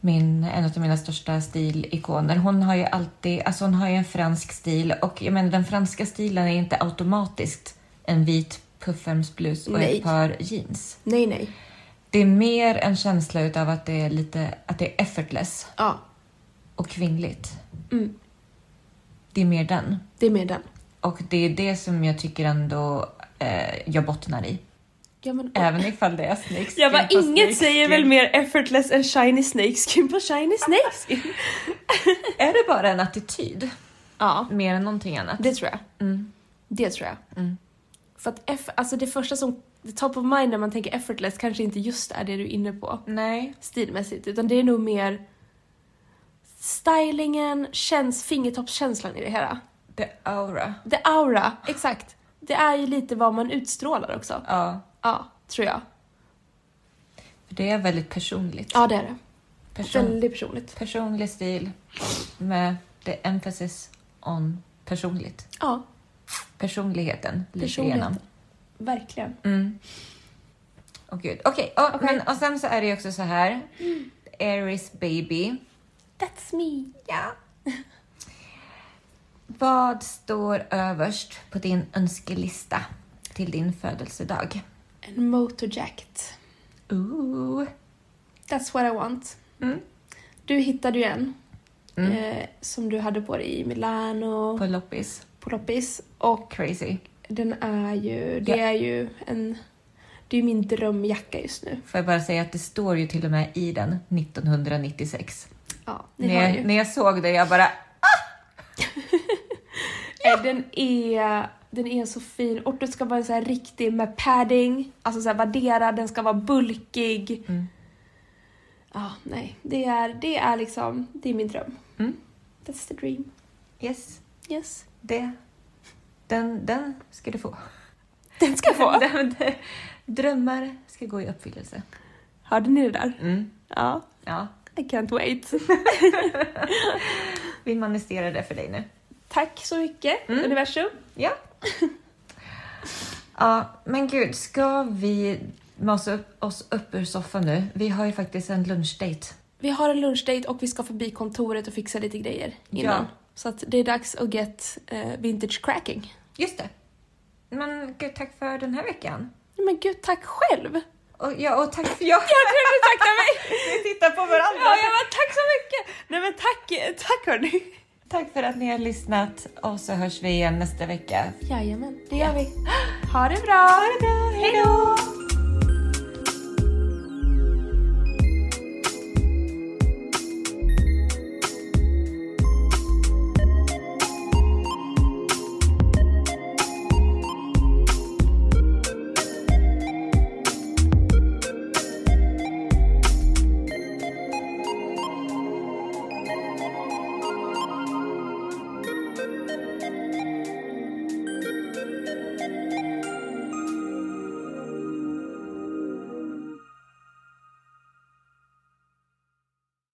[SPEAKER 1] min, en av mina största stilikoner, hon har ju alltid, alltså hon har ju en fransk stil och jag menar den franska stilen är inte automatiskt en vit puffärmsblus och
[SPEAKER 2] Nej.
[SPEAKER 1] ett par jeans.
[SPEAKER 2] Nej nej.
[SPEAKER 1] Det är mer en känsla utav att det är lite, att det är effortless
[SPEAKER 2] Ja,
[SPEAKER 1] och kvinnligt.
[SPEAKER 2] Mm.
[SPEAKER 1] Det är mer den.
[SPEAKER 2] det är mer den.
[SPEAKER 1] Och det är det som jag tycker ändå eh, jag bottnar i.
[SPEAKER 2] Ja, men,
[SPEAKER 1] Även ifall det är snyggt.
[SPEAKER 2] jag bara, inget säger väl mer effortless än shiny snakeskin på shiny snakeskin?
[SPEAKER 1] Är det bara en attityd?
[SPEAKER 2] ja,
[SPEAKER 1] Mer än någonting annat?
[SPEAKER 2] det tror jag.
[SPEAKER 1] Mm.
[SPEAKER 2] Det tror jag.
[SPEAKER 1] Mm.
[SPEAKER 2] För att eff- alltså det första som, the top of mind när man tänker effortless kanske inte just är det du är inne på
[SPEAKER 1] Nej.
[SPEAKER 2] stilmässigt utan det är nog mer stylingen, känns, fingertoppskänslan i det hela.
[SPEAKER 1] The aura.
[SPEAKER 2] The aura, exakt. Det är ju lite vad man utstrålar också.
[SPEAKER 1] Ja.
[SPEAKER 2] Ja, tror jag.
[SPEAKER 1] För det är väldigt personligt.
[SPEAKER 2] Ja, det är det.
[SPEAKER 1] Person-
[SPEAKER 2] Väldigt personligt.
[SPEAKER 1] personlig stil med the emphasis on personligt.
[SPEAKER 2] Ja,
[SPEAKER 1] Personligheten lyser
[SPEAKER 2] Personligheten.
[SPEAKER 1] igenom.
[SPEAKER 2] verkligen.
[SPEAKER 1] Mm. Åh gud. Okej, och,
[SPEAKER 2] Okej. Mm.
[SPEAKER 1] men- och sen så är det ju också så här. Aries baby.
[SPEAKER 2] That's me.
[SPEAKER 1] Ja. Vad står överst på din önskelista till din födelsedag?
[SPEAKER 2] En motorjacket.
[SPEAKER 1] Ooh.
[SPEAKER 2] That's what I want.
[SPEAKER 1] Mm.
[SPEAKER 2] Du hittade ju en
[SPEAKER 1] Mm.
[SPEAKER 2] eh, som du hade på dig i Milano,
[SPEAKER 1] På
[SPEAKER 2] på,
[SPEAKER 1] loppis.
[SPEAKER 2] loppis. Och
[SPEAKER 1] Crazy.
[SPEAKER 2] den är ju,
[SPEAKER 1] Ja.
[SPEAKER 2] det är ju en, det är ju min drömjacka just nu.
[SPEAKER 1] Får jag bara säga att det står ju till och med i den 1996.
[SPEAKER 2] Ja, ni
[SPEAKER 1] När
[SPEAKER 2] hör
[SPEAKER 1] jag,
[SPEAKER 2] ju.
[SPEAKER 1] när jag såg det, jag bara...
[SPEAKER 2] Eh, Den är, den är så fin och den ska vara så här riktig med padding, alltså så här vadderad, den ska vara bulkig.
[SPEAKER 1] Mm.
[SPEAKER 2] Ja, nej. Det är, det är liksom, det är min dröm.
[SPEAKER 1] Mm.
[SPEAKER 2] That's the dream.
[SPEAKER 1] Yes,
[SPEAKER 2] Yes.
[SPEAKER 1] det Den, den ska du få.
[SPEAKER 2] Den ska jag få!
[SPEAKER 1] Den- den- Drömmar ska gå i uppfyllelse.
[SPEAKER 2] Hörde ni det där? Ja.
[SPEAKER 1] Ja,
[SPEAKER 2] I can't wait.
[SPEAKER 1] vi manifesterar det för dig nu.
[SPEAKER 2] Tack så mycket,
[SPEAKER 1] Mm.
[SPEAKER 2] universum.
[SPEAKER 1] Ja. ja, men gud, ska vi masa upp, oss upp ur soffan nu? Vi har ju faktiskt en lunchdate.
[SPEAKER 2] Vi har en lunchdate och vi ska förbi kontoret och fixa lite grejer innan.
[SPEAKER 1] Ja.
[SPEAKER 2] Så att det är dags att get eh, vintage cracking.
[SPEAKER 1] Just det. Men gud, tack för den här veckan.
[SPEAKER 2] Ja, Men gud, tack själv!
[SPEAKER 1] Och, ja, och tack för jag.
[SPEAKER 2] Jag trodde du tackade mig!
[SPEAKER 1] Vi tittar på varandra.
[SPEAKER 2] Ja, jag bara, tack så mycket! Nej men tack, tack hörni!
[SPEAKER 1] Tack för att ni har lyssnat och så hörs vi igen nästa vecka.
[SPEAKER 2] Jajamän, det gör vi. Ha det bra!
[SPEAKER 1] Hej då!